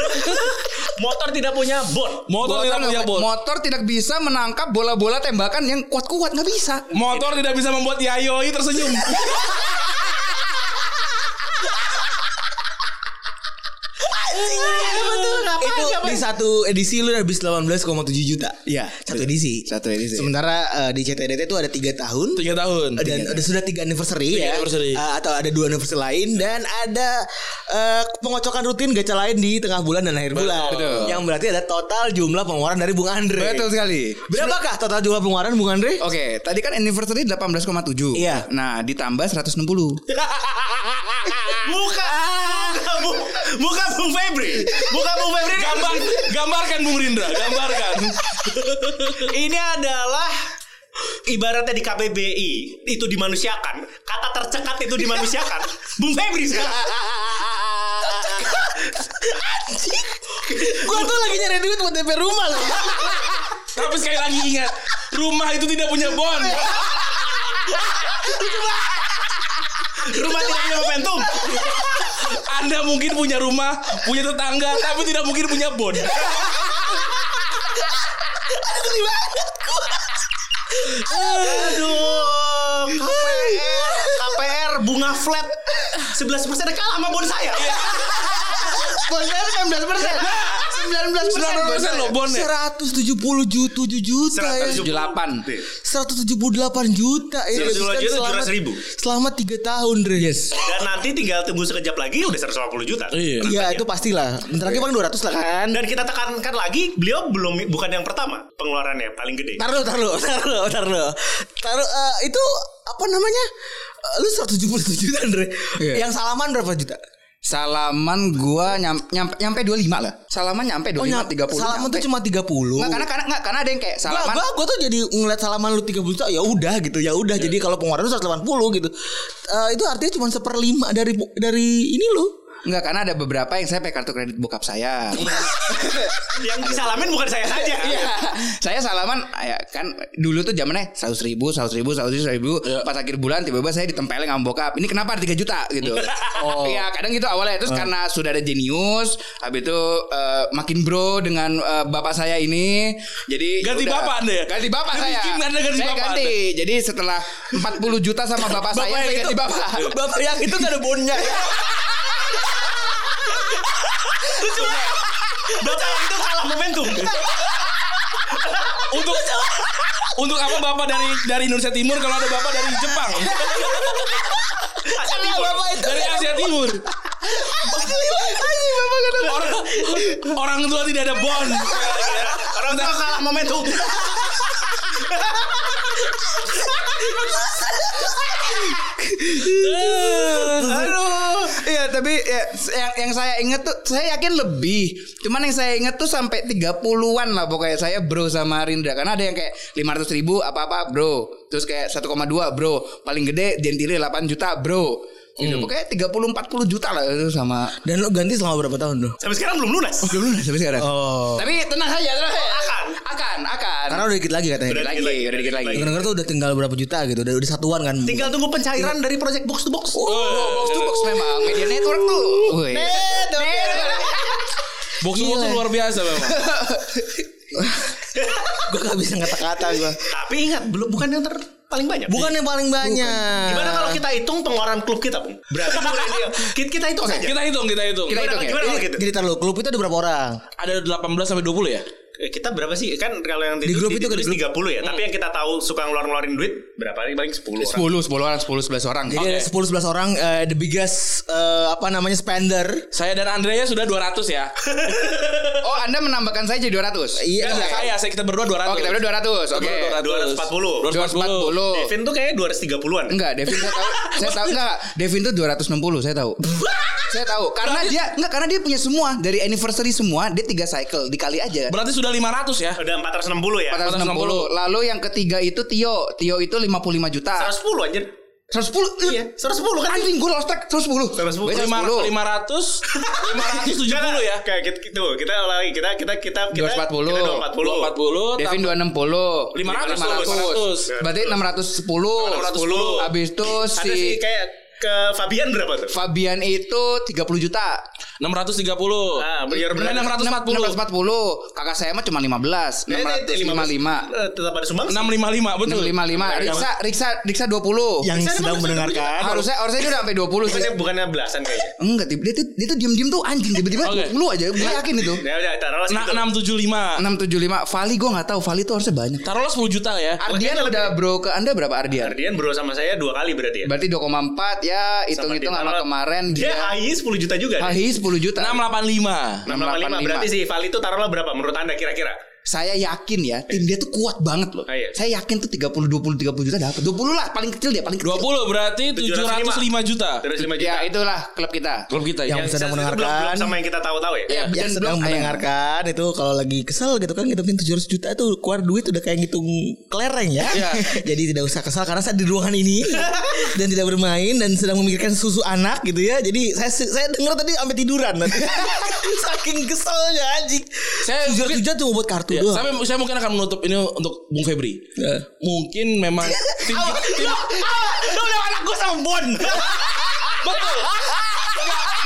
C: Motor tidak punya bon.
B: Motor tidak punya bol.
D: Motor tidak bisa menangkap bola-bola tembakan yang kuat-kuat nggak bisa.
B: Motor tidak bisa membuat Yayoi tersenyum.
E: itu di satu edisi lu habis 18,7 juta. Iya, satu edisi.
D: Satu edisi.
E: Sementara eh, di CTDT itu ada tiga tahun.
B: Tiga tahun.
E: Eh, dan ada sudah tiga anniversary
B: Tiga
E: ya
B: anniversary.
E: Eh, atau ada dua anniversary lain dan ada eh, pengocokan rutin gacha lain di tengah bulan dan akhir bulan
B: Betul.
E: yang berarti ada total jumlah pengeluaran dari Bung Andre
D: Betul sekali.
E: berapakah total jumlah pengeluaran Bung Andre
D: Oke, tadi kan anniversary 18,7.
E: Iya.
D: Nah, ditambah 160.
C: Ah. Buka. Bu- Buka Bung Febri. Buka Bung Febri.
B: Gambar, gambarkan Bung Rindra, gambarkan.
C: Ini adalah ibaratnya di KBBI itu dimanusiakan kata tercekat itu dimanusiakan Bung Febri sekarang
D: Eh,
E: gua tuh lagi nyari duit buat DP rumah loh
B: Tapi sekali lagi ingat, rumah itu tidak punya bon.
C: rumah tidak punya momentum
B: Anda mungkin punya rumah, punya tetangga, tapi tidak mungkin punya bon.
C: aduh KPR KPR bunga flat 11 persen kalah sama bon saya
D: Iya.
E: Bonusnya 19 persen 19 persen
B: 19% loh bonnya.
E: 170 juta 7 juta ya
D: Iya,
E: 178 juta ya
C: 178 juta,
E: Kan
C: juara
E: selama-
C: seribu.
E: Selama 3 tahun Dre Yes
C: dan nanti tinggal tunggu sekejap lagi udah 150 juta
B: Iya.
E: Iya itu pastilah Bentar lagi paling 200 lah kan
C: dan kita tekankan lagi beliau belum bukan yang pertama pengeluarannya paling gede
D: Nah.
E: Taruh taruh Taruh Taruh Taruh eh, Itu Apa namanya Eh, Lu 177 juta Andre
D: Iya.
E: Yang salaman berapa juta
D: Salaman gua nyam, nyampe, nyampe 25 lah. Salaman nyampe 25
E: Oh, nyam-
D: 30.
E: Salaman
D: nyampe.
E: tuh cuma 30
D: Nggak, karena karena nggak, karena ada yang kayak salaman.
E: Gak, gue tuh jadi ngeliat salaman lu 30 juta ya udah gitu ya udah jadi kalau pengeluaran lu 180 gitu Eh, itu artinya cuma seperlima dari dari ini lu
D: Enggak, karena ada beberapa yang saya pakai kartu kredit bokap saya.
E: Iya.
C: yang disalamin bukan saya saja
D: Iya. saya salaman ya kan dulu tuh zamannya 100 ribu, 100 ribu, 100 ribu, 100 ribu.
B: Iya.
D: Pas akhir bulan tiba-tiba saya ditempeleng sama bokap. Ini kenapa ada 3 juta gitu. oh. Iya, kadang gitu awalnya
B: Ah.
D: terus karena sudah ada jenius, habis itu eh, makin bro dengan eh, bapak saya ini. Jadi
B: Ganti
D: yaudah.
B: bapak Anda ya?
D: Ganti bapak
B: Demi
D: saya.
B: Kim Anda ganti
D: saya
B: bapak
D: ganti. Jadi setelah 40 juta sama bapak, saya, saya
E: yang
D: ganti
E: itu-
D: bapak.
E: bapak yang itu gak ada bonnya
C: bapak yang itu kalah momentum
D: Iya.
B: Untuk untuk apa bapak dari dari Indonesia Timur kalau ada bapak dari Jepang?
E: karena bapak itu
B: Dari Asia Timur. Orang, orang tua tidak ada bon.
C: orang tua kalah momentum
D: Aduh. Iya, tapi ya, yang yang saya inget tuh saya yakin lebih. Cuman yang saya inget tuh sampai 30-an lah pokoknya saya bro sama Rindra karena ada yang kayak 500 ribu apa-apa bro. Terus kayak 1,2 bro. Paling gede Gentile 8 juta bro. Gitu. Pokoknya 30 40 juta lah itu sama
E: dan lu ganti selama berapa tahun lu
C: sampai sekarang belum lunas
D: belum lunas sampai sekarang.
E: oh
D: Tapi tenang saja, tenang saja. Akan, akan, akan.
E: karena udah dikit lagi
D: Dikit
E: katanya
D: lagi, udah dikit lagi.
E: denger tuh udah tinggal berapa juta gitu udah udah satuan kan
C: tinggal tunggu pencairan dari project box to box
D: Oh, box to box memang media network tuh. Wih.
B: Box box
C: Iya.
E: Gila.
B: luar biasa memang.
E: gue gak bisa ngata-kata gue
C: tapi ingat belum bukan yang ter paling banyak
E: bukan yang paling banyak
C: Gimana kalau kita hitung pengeluaran klub kita, Bung? Berarti mulai dia- kita, kita hitung saja.
B: Kita hitung, kita hitung.
D: Kita hitung ya.
C: Gimana kalau
E: Jadi-
C: gitu?
E: jadi tar lu klub itu ada berapa orang
B: Ada 18 sampai 20 ya?
C: Eh, Kita berapa sih? Kan kalau yang
E: Di grup itu kan,
C: ditulis
E: di grup.
C: 30 ya, tapi yang kita tahu suka ngeluarin-ngeluarin duit berapa? Paling 10 orang.
D: 10, 10 orang, 10, 11 orang.
E: jadi ada 10 11 orang eh, the biggest eh, apa namanya spender
B: Saya dan Andrea sudah 200 ya.
D: Oh, Anda menambahkan saya jadi 200.
B: Iya, saya, saya kita berdua 200.
D: Oh, kita berdua 200. Oke.
B: 240.
C: 240.
D: 240.
C: Devin tuh kayaknya 230-an.
D: Enggak, Devin saya tahu. saya tahu enggak, Devin tuh 260, saya tahu. saya tahu karena dia enggak karena dia punya semua dari anniversary semua, dia tiga cycle dikali aja.
B: Berarti sudah udah 500 ya.
C: Udah 460 ya.
D: 460. Lalu yang ketiga itu Tio. Tio itu 55 juta.
C: 110 anjir.
D: 110.
C: Iya, 110 kan.
D: Anjing gue lost track 110.
C: 110.
D: Wait,
B: Lima-
D: 110.
B: 500 570 ya.
C: Kayak gitu, gitu. Kita ulangi, kita kita kita kita
D: 240.
C: Kita
B: 40
C: 240.
D: Devin
B: 500,
D: 260 500. Berarti
C: 610.
D: 610 Habis itu
C: Ada
D: si
C: sih kayak ke Fabian berapa tuh?
D: Fabian itu 30 juta
B: 630.
C: Ah, biar
B: Benar,
C: berapa?
B: 640.
D: 640 Kakak saya mah cuma 15
C: Iya,
D: 655
C: Eh, Tetap ada sumbang.
B: 655 betul.
D: 655 Riksa Riksa Riksa
E: Yang
D: 20
C: Saya
B: kan
E: sedang
C: dapat
E: mendengarkan.
D: Harusnya harusnya dia udah sampai 20 sih
C: Bukannya, bukannya belasan ya? kayaknya.
D: Enggak tiba dia tuh dia tuh diam-diam tuh anjing tiba-tiba
B: Oke.
D: 20 aja gue yakin itu
C: Ya udah, taruhlah
B: Nah,
C: segitu.
B: 675.
D: 675 Vali gue nggak tahu Vali tuh harusnya banyak
B: Taruhlah 10 juta ya.
D: Ardian udah bro ke anda berapa Ardian?
C: Ardian bro sama saya dua kali berarti ya.
D: Berarti 2,4 ya hitung-hitung
C: Sama
D: sama
C: Dinara.
D: kemarin
C: Dia
D: dia
C: AI 10 juta juga. deh.
D: Hahi 10 juta
B: 685.
C: 685 berarti sih Vali itu taruhlah berapa menurut Anda kira-kira?
D: Saya yakin ya tim dia tuh kuat banget loh.
C: Ah, iya.
D: Saya yakin tuh 30 20 30 juta dapat. 20 lah paling kecil dia paling kecil.
B: 20 berarti 705 juta.
C: Terus 5 juta.
D: Ya itulah klub kita.
B: Klub kita ya.
E: Yang sedang
C: Itu belum-
E: mendengarkan.
C: belum sama yang kita tahu-tahu ya.
D: Ya,
E: yang
D: dan
E: sedang
D: belum-
E: mendengarkan itu kalau lagi kesel gitu kan ngitungin 700 juta tuh keluar duit udah kayak ngitung kelereng ya.
B: Iya.
E: Jadi tidak usah kesal karena saya di ruangan ini dan tidak bermain dan sedang memikirkan susu anak gitu ya. Jadi saya saya dengar tadi sampai tiduran nanti. Saking keselnya anjing.
B: Saya mungkin-
E: 700 juta cuma buat kartu
B: Ya,
E: doang.
B: saya, saya mungkin akan menutup ini untuk Bung Febri.
E: Ya.
B: Mungkin memang tim, tim,
E: Lu udah anak gue sama Bon.
B: Betul.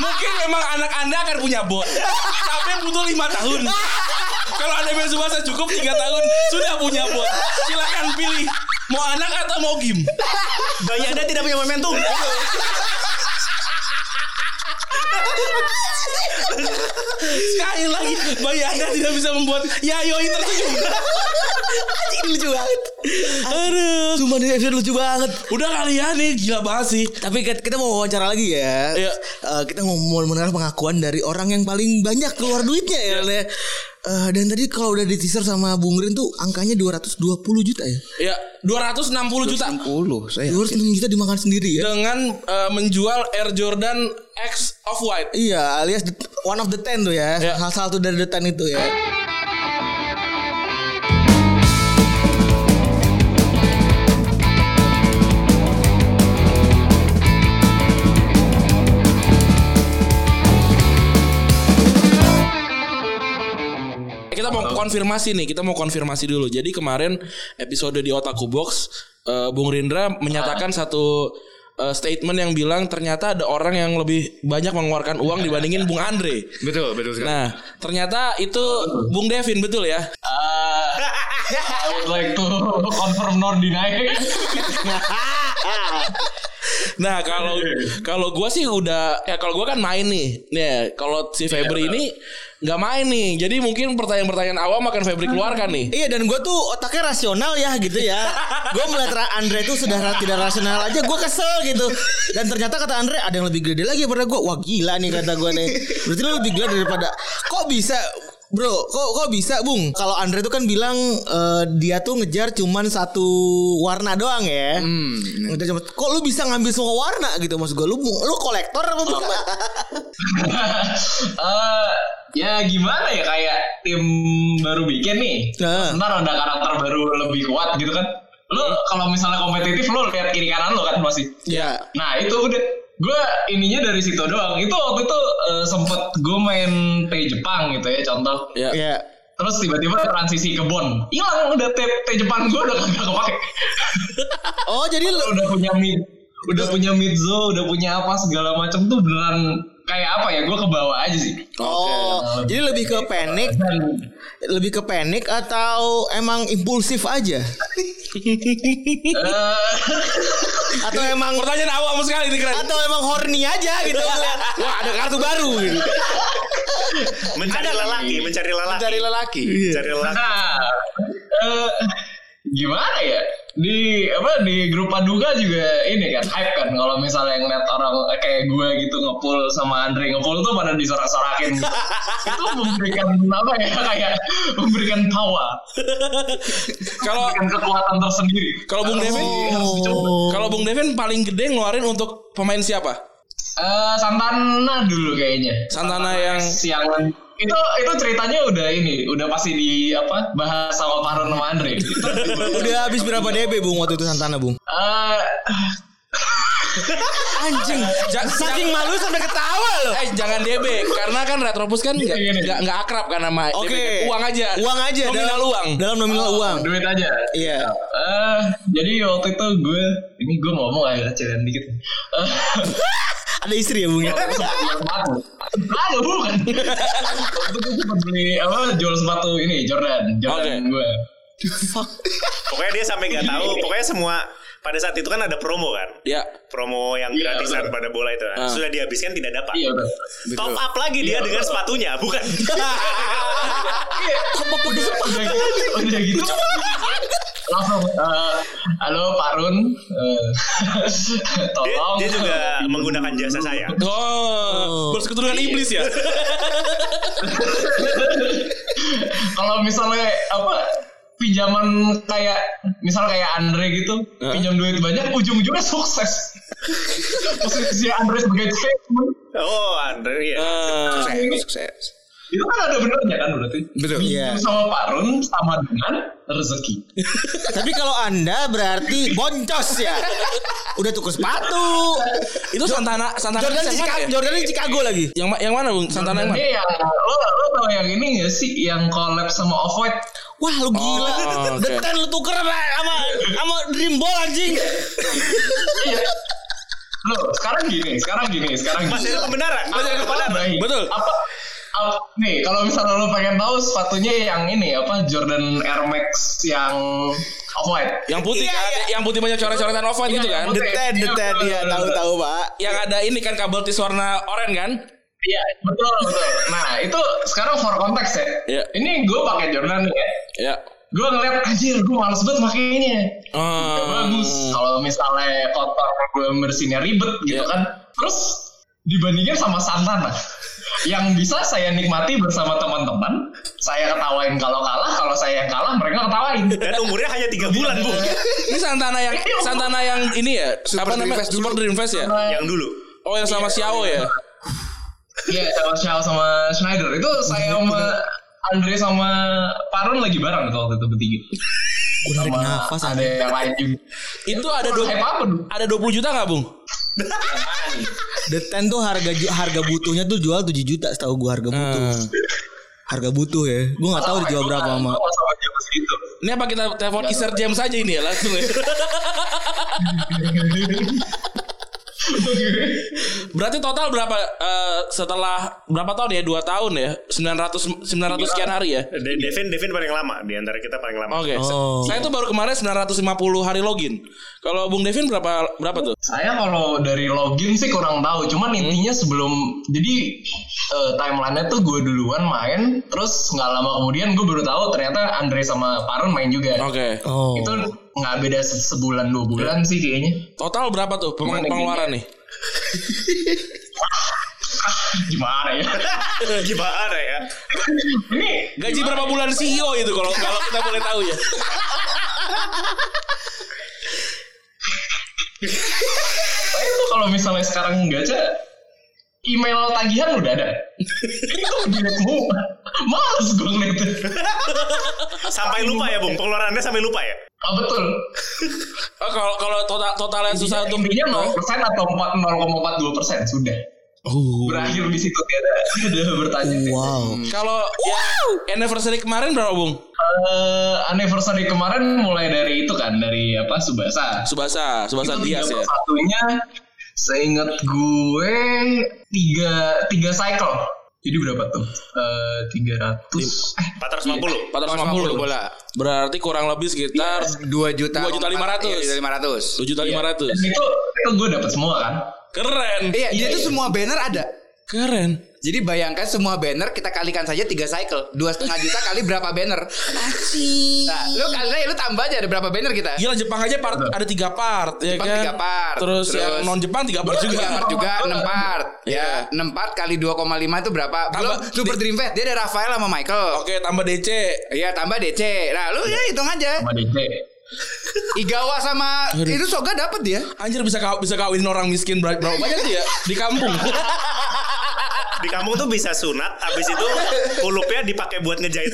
B: Mungkin memang anak Anda akan punya bot. Tapi butuh lima tahun. Kalau Anda main Subasa cukup tiga tahun sudah punya bot. Silakan pilih mau anak atau mau game.
C: Bayi Anda tidak punya momentum.
B: Sekali lagi bayi Anda tidak bisa membuat Yayoi tersenyum.
E: Anjing lucu banget. Aduh, cuma di episode lucu banget.
B: Udah kali ya nih gila banget sih.
E: Tapi kita kita mau wawancara lagi ya.
B: Iya.
E: Eh, kita mau mau mendengar pengakuan dari orang yang paling banyak keluar duitnya ya.
B: Iya.
E: Lel, ya. Eh, dan tadi kalau udah di teaser sama Bung Rin tuh angkanya 220 juta ya.
B: Ya 260 juta
D: 60
B: Iya.
D: saya.
E: 260 juta dimakan sendiri ya.
B: dengan eh, menjual Air Jordan X Off White.
E: Iya, alias the- one of the ten tuh ya.
B: Iya.
E: Salah satu dari the ten itu ya.
B: Eh, Kita mau konfirmasi nih, kita mau konfirmasi dulu. Jadi kemarin episode di Otaku Box, eh, Bung Rindra menyatakan satu eh, statement yang bilang ternyata ada orang yang lebih banyak mengeluarkan uang dibandingin Bung Andre.
D: Betul, betul sekali.
B: Nah, ternyata itu Bung Devin betul ya?
A: like to confirm nor deny.
B: Nah, kalau kalau gua sih udah ya kalau gua kan main nih. Nih, kalau si Febri ini nggak main nih. Jadi mungkin pertanyaan-pertanyaan awam akan Febri keluarkan nih.
E: Iya dan gue tuh otaknya rasional ya gitu ya Gue melihat Ra- Andre tuh sudah ra- tidak rasional aja Gue kesel gitu Dan ternyata kata Andre ada yang lebih gede lagi daripada gue Wah gila nih kata gue nih Berarti lu lebih gila daripada Kok bisa Bro, kok kok bisa, Bung? Kalau Andre tuh kan bilang eh, dia tuh ngejar cuman satu warna doang ya. Ngejar cuma- kok lu bisa ngambil semua warna gitu maksud gue? Lu lu kolektor apa bukan?
A: Eh, ya gimana ya kayak tim baru bikin nih.
E: Nah.
A: Ntar ada karakter baru lebih kuat gitu kan. Lu kalau misalnya kompetitif lu lihat kiri kanan lu kan masih.
E: Iya.
A: Nah itu udah gue ininya dari situ doang. Itu waktu itu eh, sempet gue main T Jepang gitu ya contoh.
B: Ya.
E: Iya.
A: Terus tiba-tiba transisi ke Bon. Hilang udah T, T Jepang gue udah kagak kepake.
E: Oh, jadi lu
A: udah punya mid udah punya midzo udah punya apa segala macam tuh beneran kayak apa ya gue kebawa aja sih
E: Oh, jadi lebih ke panik
A: dan
E: lebih ke panik atau emang impulsif aja
A: eh,
E: atau emang
B: Pertanyaan awam sekali nih keren.
E: atau emang horny aja gitu
B: Wah, ada kartu baru gitu.
C: Mencari lelaki, mencari lelaki.
D: Dari lelaki.
C: Mencari lelaki.
A: nah eh, gimana ya di apa di grup paduka juga ini kan hype kan kalau misalnya ngeliat orang kayak gue gitu ngepul sama Andre ngepul tuh pada disorak-sorakin gitu. itu memberikan apa ya kayak memberikan tawa
B: Kalau
A: memberikan kekuatan tersendiri
B: Kalau Bung Devin, kalau Bung Devin paling gede ngeluarin untuk pemain siapa?
A: Eh Santana dulu kayaknya.
B: Santana yang
A: Siang itu itu ceritanya udah ini udah pasti di apa bahas sama Pak Harun sama Andre Itu
E: Udah habis berapa DB Bung waktu itu Santana Bung?
A: eh,
E: Anjing.
B: Ja-
E: Saking
B: ja-
E: malu sampai ketawa loh.
B: Eh jangan DB karena kan Retropus kan nggak
A: Gini, gini.
B: nggak nggak akrab kan sama DB.
E: Oke.
B: Uang aja.
E: Uang aja
B: Nominal
E: dalam,
B: uang.
E: Dalam nominal uang.
A: duit aja
E: Iya.
A: Eh, jadi waktu itu gue ini gue ngomong akhirnya ceritain dikit Eh,
E: Ada istri ya Bung ya?
A: sepatu sepatu bukan waktu itu gue beli apa jual sepatu ini Jordan Jordan
B: Oke.
A: gue
C: Pokoknya dia sampai nggak tahu. Pokoknya semua pada saat itu kan ada promo kan.
B: Ya.
C: Promo yang
A: Iya,
C: gratisan
A: betul.
C: pada bola itu kan.
B: Ah.
C: Sudah dihabiskan tidak dapat.
A: iya udah
C: Top up lagi dia
A: Iya,
C: dengan
A: betul.
C: sepatunya, bukan.
A: udah gitu udah gitu langsung eh, halo Pak Run eh,
C: dia,
A: tolong
C: dia juga menggunakan jasa saya.
B: Oh, bersekutu dengan iblis ya.
A: kalau misalnya apa pinjaman kayak misal kayak Andre gitu
B: Heeh.
A: pinjam duit banyak ujung-ujungnya sukses posisi Andre sebagai chairman
C: Oh, Andre ya.
B: Eh,
D: Sukses, sukses.
A: itu kan ada benernya kan berarti
D: Betul.
E: Iya.
A: sama Pak Run sama dengan rezeki
E: Tapi kalau Anda berarti boncos ya. Udah tuker sepatu.
B: itu Santana Santana
E: Jordan
B: yang mana
E: Chicago,
B: ya?
E: Jordan Chicago lagi. Eh,
B: Yang ma- yang mana Bung? Santana yang mana?
A: Ini yang ya, lo lo tau yang ini gak sih yang collab sama Off White?
E: Wah lu gila.
B: Oh, oke.
E: Deten lu tuker sama sama, sama Dream Ball anjing.
A: Lo sekarang gini, sekarang gini, sekarang gini.
C: Masih ada kebenaran, masih ada
A: Apa-
C: kebenaran.
A: apa-
B: Betul.
A: Apa? apa- Nih kalau misalnya lo pengen tahu sepatunya yang ini apa Jordan Air Max yang Off White?
B: Yang putih
E: Iya,
B: kan, yang putih banyak coret-coretan off white gitu kan.
A: yang putih.
E: Deten, deten
A: Iya,
E: ya tahu-tahu Pak.
B: Yang ada ini kan kabel tis warna oranye kan?
A: Iya betul betul. Nah itu sekarang for konteks ya.
B: Iya.
A: Ini gue pakai Jordan nih ya.
E: Iya.
B: Ya.
A: Gue ngeliat anjir gue males banget makainya. Ya,
B: Oh.
A: bagus kalau misalnya kotor gue bersihinnya ribet gitu
B: Iya.
A: kan terus dibandingin sama Santana yang bisa saya nikmati bersama teman-teman saya ketawain kalau kalah kalau saya yang kalah mereka ketawain
C: Dan umurnya hanya 3 bulan, Bu.
B: Ini Santana yang Santana yang ini ya, apa
D: Dream
B: namanya?
D: Fest dulu.
B: Super Dream Fest ya?
C: Yang dulu.
B: Oh, yang sama Xiao ya.
A: iya sama Shaw sama Schneider itu saya sama Andre sama Parun lagi bareng tuh waktu itu bertiga
E: Gue narik nafas
A: ada
E: anjing.
A: yang lain juga
B: Itu ada
A: Terus hype
B: 20
A: apa dulu?
B: ada 20 juta nggak Bung?
E: Deten tuh harga ju- harga butuhnya tuh jual 7 juta setahu gue harga butuh.
B: Hmm.
E: Harga butuh ya. Gue nggak tahu dijual berapa
B: Ah,
E: sama.
A: Sama- gitu. sama jam segitu.
B: Ini apa kita telepon Iser James aja ini ya langsung ya. Berarti total berapa eh, setelah berapa tahun ya? 2 tahun ya? 900 900 sekian hari ya?
C: De- Devin Devin paling lama di antara kita paling lama.
B: Oke. sa-
E: Oh.
B: Saya tuh baru kemarin 950 hari login. Kalau Bung Devin berapa berapa tuh?
A: Saya kalau dari login sih kurang tahu, cuman
E: Hmm.
A: intinya sebelum jadi eh, timelinenya tuh gue duluan main, terus nggak lama kemudian gue baru tahu ternyata Andre sama Parun main juga.
B: Oke.
E: Oh.
A: Itu nggak beda se- sebulan dua bulan sih kayaknya.
B: Total berapa tuh peng-
A: Gimana,
B: pengeluaran nih?
A: Gimana ya?
C: Gimana ya?
A: Ini
B: Gaji berapa bulan CEO itu kalau kalau kita boleh tahu ya.
A: saya tuh kalau misalnya sekarang gacha email tagihan udah ada. Kan Itu gila semua. Males gue ngeliatnya.
C: Sampai lupa ya, Bung. Pengeluarannya sampai lupa ya.
A: Oh betul.
B: Oh, kalau kalau total total yang susah
D: Iya,
B: untuk
A: Intinya 0% atau 0,42 sudah.
E: Oh.
A: berakhir di situ dia ada, ada bertanya sih.
E: Wow.
B: Hmm. Kalau ya, anniversary kemarin berapa, Bung?
A: Eh, anniversary kemarin mulai dari itu kan dari apa Subasa.
B: Subasa, Subasa
A: Itu
B: Dias ya.
A: Satunya seingat gue tiga tiga cycle. Jadi berapa tuh? Eh, Tiga ratus. Eh
B: Iya,
C: 450.
B: 450 bola. Berarti kurang lebih sekitar
D: 2 juta
B: 2.500.
D: Iya,
B: 7
D: 2.500.
B: juta
A: dan itu itu gue dapat semua kan?
B: Keren.
D: Iya, jadi itu semua banner ada.
B: Eh, Keren.
D: Jadi bayangkan semua banner kita kalikan saja 3 cycle. 2,5 juta kali berapa banner? Nah, lu kali lu tambah aja ada berapa banner kita?
B: Gila Jepang aja part ada 3 part ya
D: Jepang
B: kan.
D: tiga part.
B: Terus,
D: Terus-
B: yang non Jepang 3 part juga.
D: juga Iya. part juga 6 part. Ya, 6 part kali 2,5 itu berapa? Belum
B: Tambah-
D: Super Dream Fest dia ada Rafael sama Michael.
B: Oke, tambah DC.
D: Iya, tambah DC. Nah, lu ya hitung aja.
A: Sama DJ.
D: Igawa sama itu Soga dapat dia.
B: Anjir bisa kaw bisa kawin orang miskin ber- berapa banyak tuh ya di kampung.
C: di kampung tuh bisa sunat, habis itu kulupnya dipakai buat ngejahit.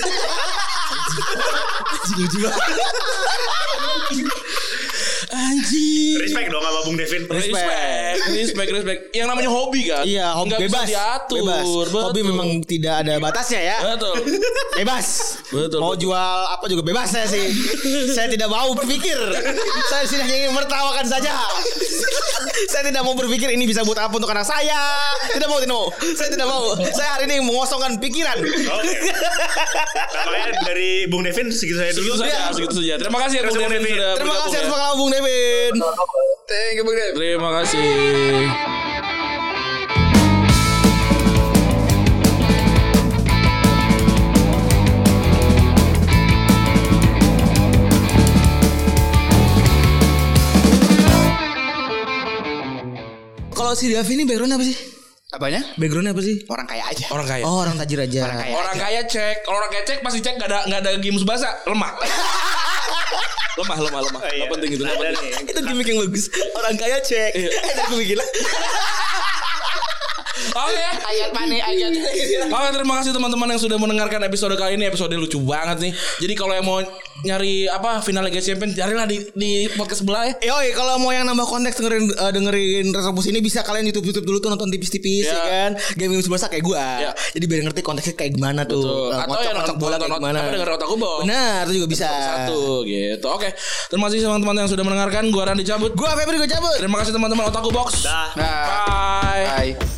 E: Anjing.
C: Respect dong sama Bung Devin.
B: Respect, respect, respect. Yang namanya hobi kan?
E: Iya, hobi
B: Nggak
E: bebas.
B: Bisa diatur.
E: Bebas. Hobi
B: betul.
E: memang tidak ada batasnya ya.
B: betul.
E: Bebas.
B: Betul,
E: Mau
B: betul.
E: jual apa juga bebas saya sih. saya tidak mau berpikir. Saya di sini hanya ingin mertawakan saja. saya tidak mau berpikir ini bisa buat apa untuk anak saya. Tidak mau, tidak mau. Saya tidak mau. Saya hari ini mengosongkan pikiran.
C: Oke. Makanya dari Bung Devin segitu saya
B: Segitu
C: dulu.
B: saja, ya,
E: Iya.
B: segitu saja. Terima kasih
C: Terima
B: Bung
C: kasih,
B: Devin
C: Bung Devin.
B: sudah
E: Terima
B: bergabung,
E: kasih
B: ya.
E: atas pengalaman Bung Devin.
D: Thank you, Bung Dev.
B: Terima kasih.
E: Kalau si Davi ini background apa sih?
D: Apanya?
E: Background apa sih?
D: Orang kaya aja.
B: Orang kaya.
E: Oh, orang tajir aja.
D: Orang kaya.
B: Orang kaya cek, kalau orang kaya cek pasti cek gak ada gak ada game sebasa, lemah. lemah, lemah, lemah.
C: Oh, iya.
B: Gak penting itu. nggak
C: Ada
B: penting.
C: nih.
E: Itu gimmick yang bagus. Orang kaya cek.
B: Iya.
E: Itu gue bikin lah.
B: Oke.
D: Ayat panik, ayat.
B: Oke terima kasih teman-teman yang sudah mendengarkan episode kali ini Episode lucu banget nih Jadi kalau yang mau nyari apa final Liga Champions Carilah di, di podcast sebelah ya
E: Yoi, kalau mau yang nambah konteks dengerin eh, dengerin Retropus ini bisa kalian YouTube YouTube dulu tuh nonton tipis-tipis
B: Iya.
E: ya kan. Game game sebesar kayak gua.
B: Iya.
E: Jadi biar ngerti konteksnya kayak gimana tuh.
B: Betul.
E: Eh,
B: Atau
E: ngocok-
B: yang
E: ngocok
B: nonton-
E: bola kayak
B: nonton-
E: gimana.
B: apa, dengerin Otak Gubok.
E: Benar, itu juga bisa.
B: Satu gitu Oke Terima kasih teman-teman yang sudah mendengarkan Gua Randy cabut
E: Gua Febri gua cabut.
C: Nah,
B: Terima kasih teman-teman Otaku Box
C: Dah.
D: Nah,
B: Bye
D: bye.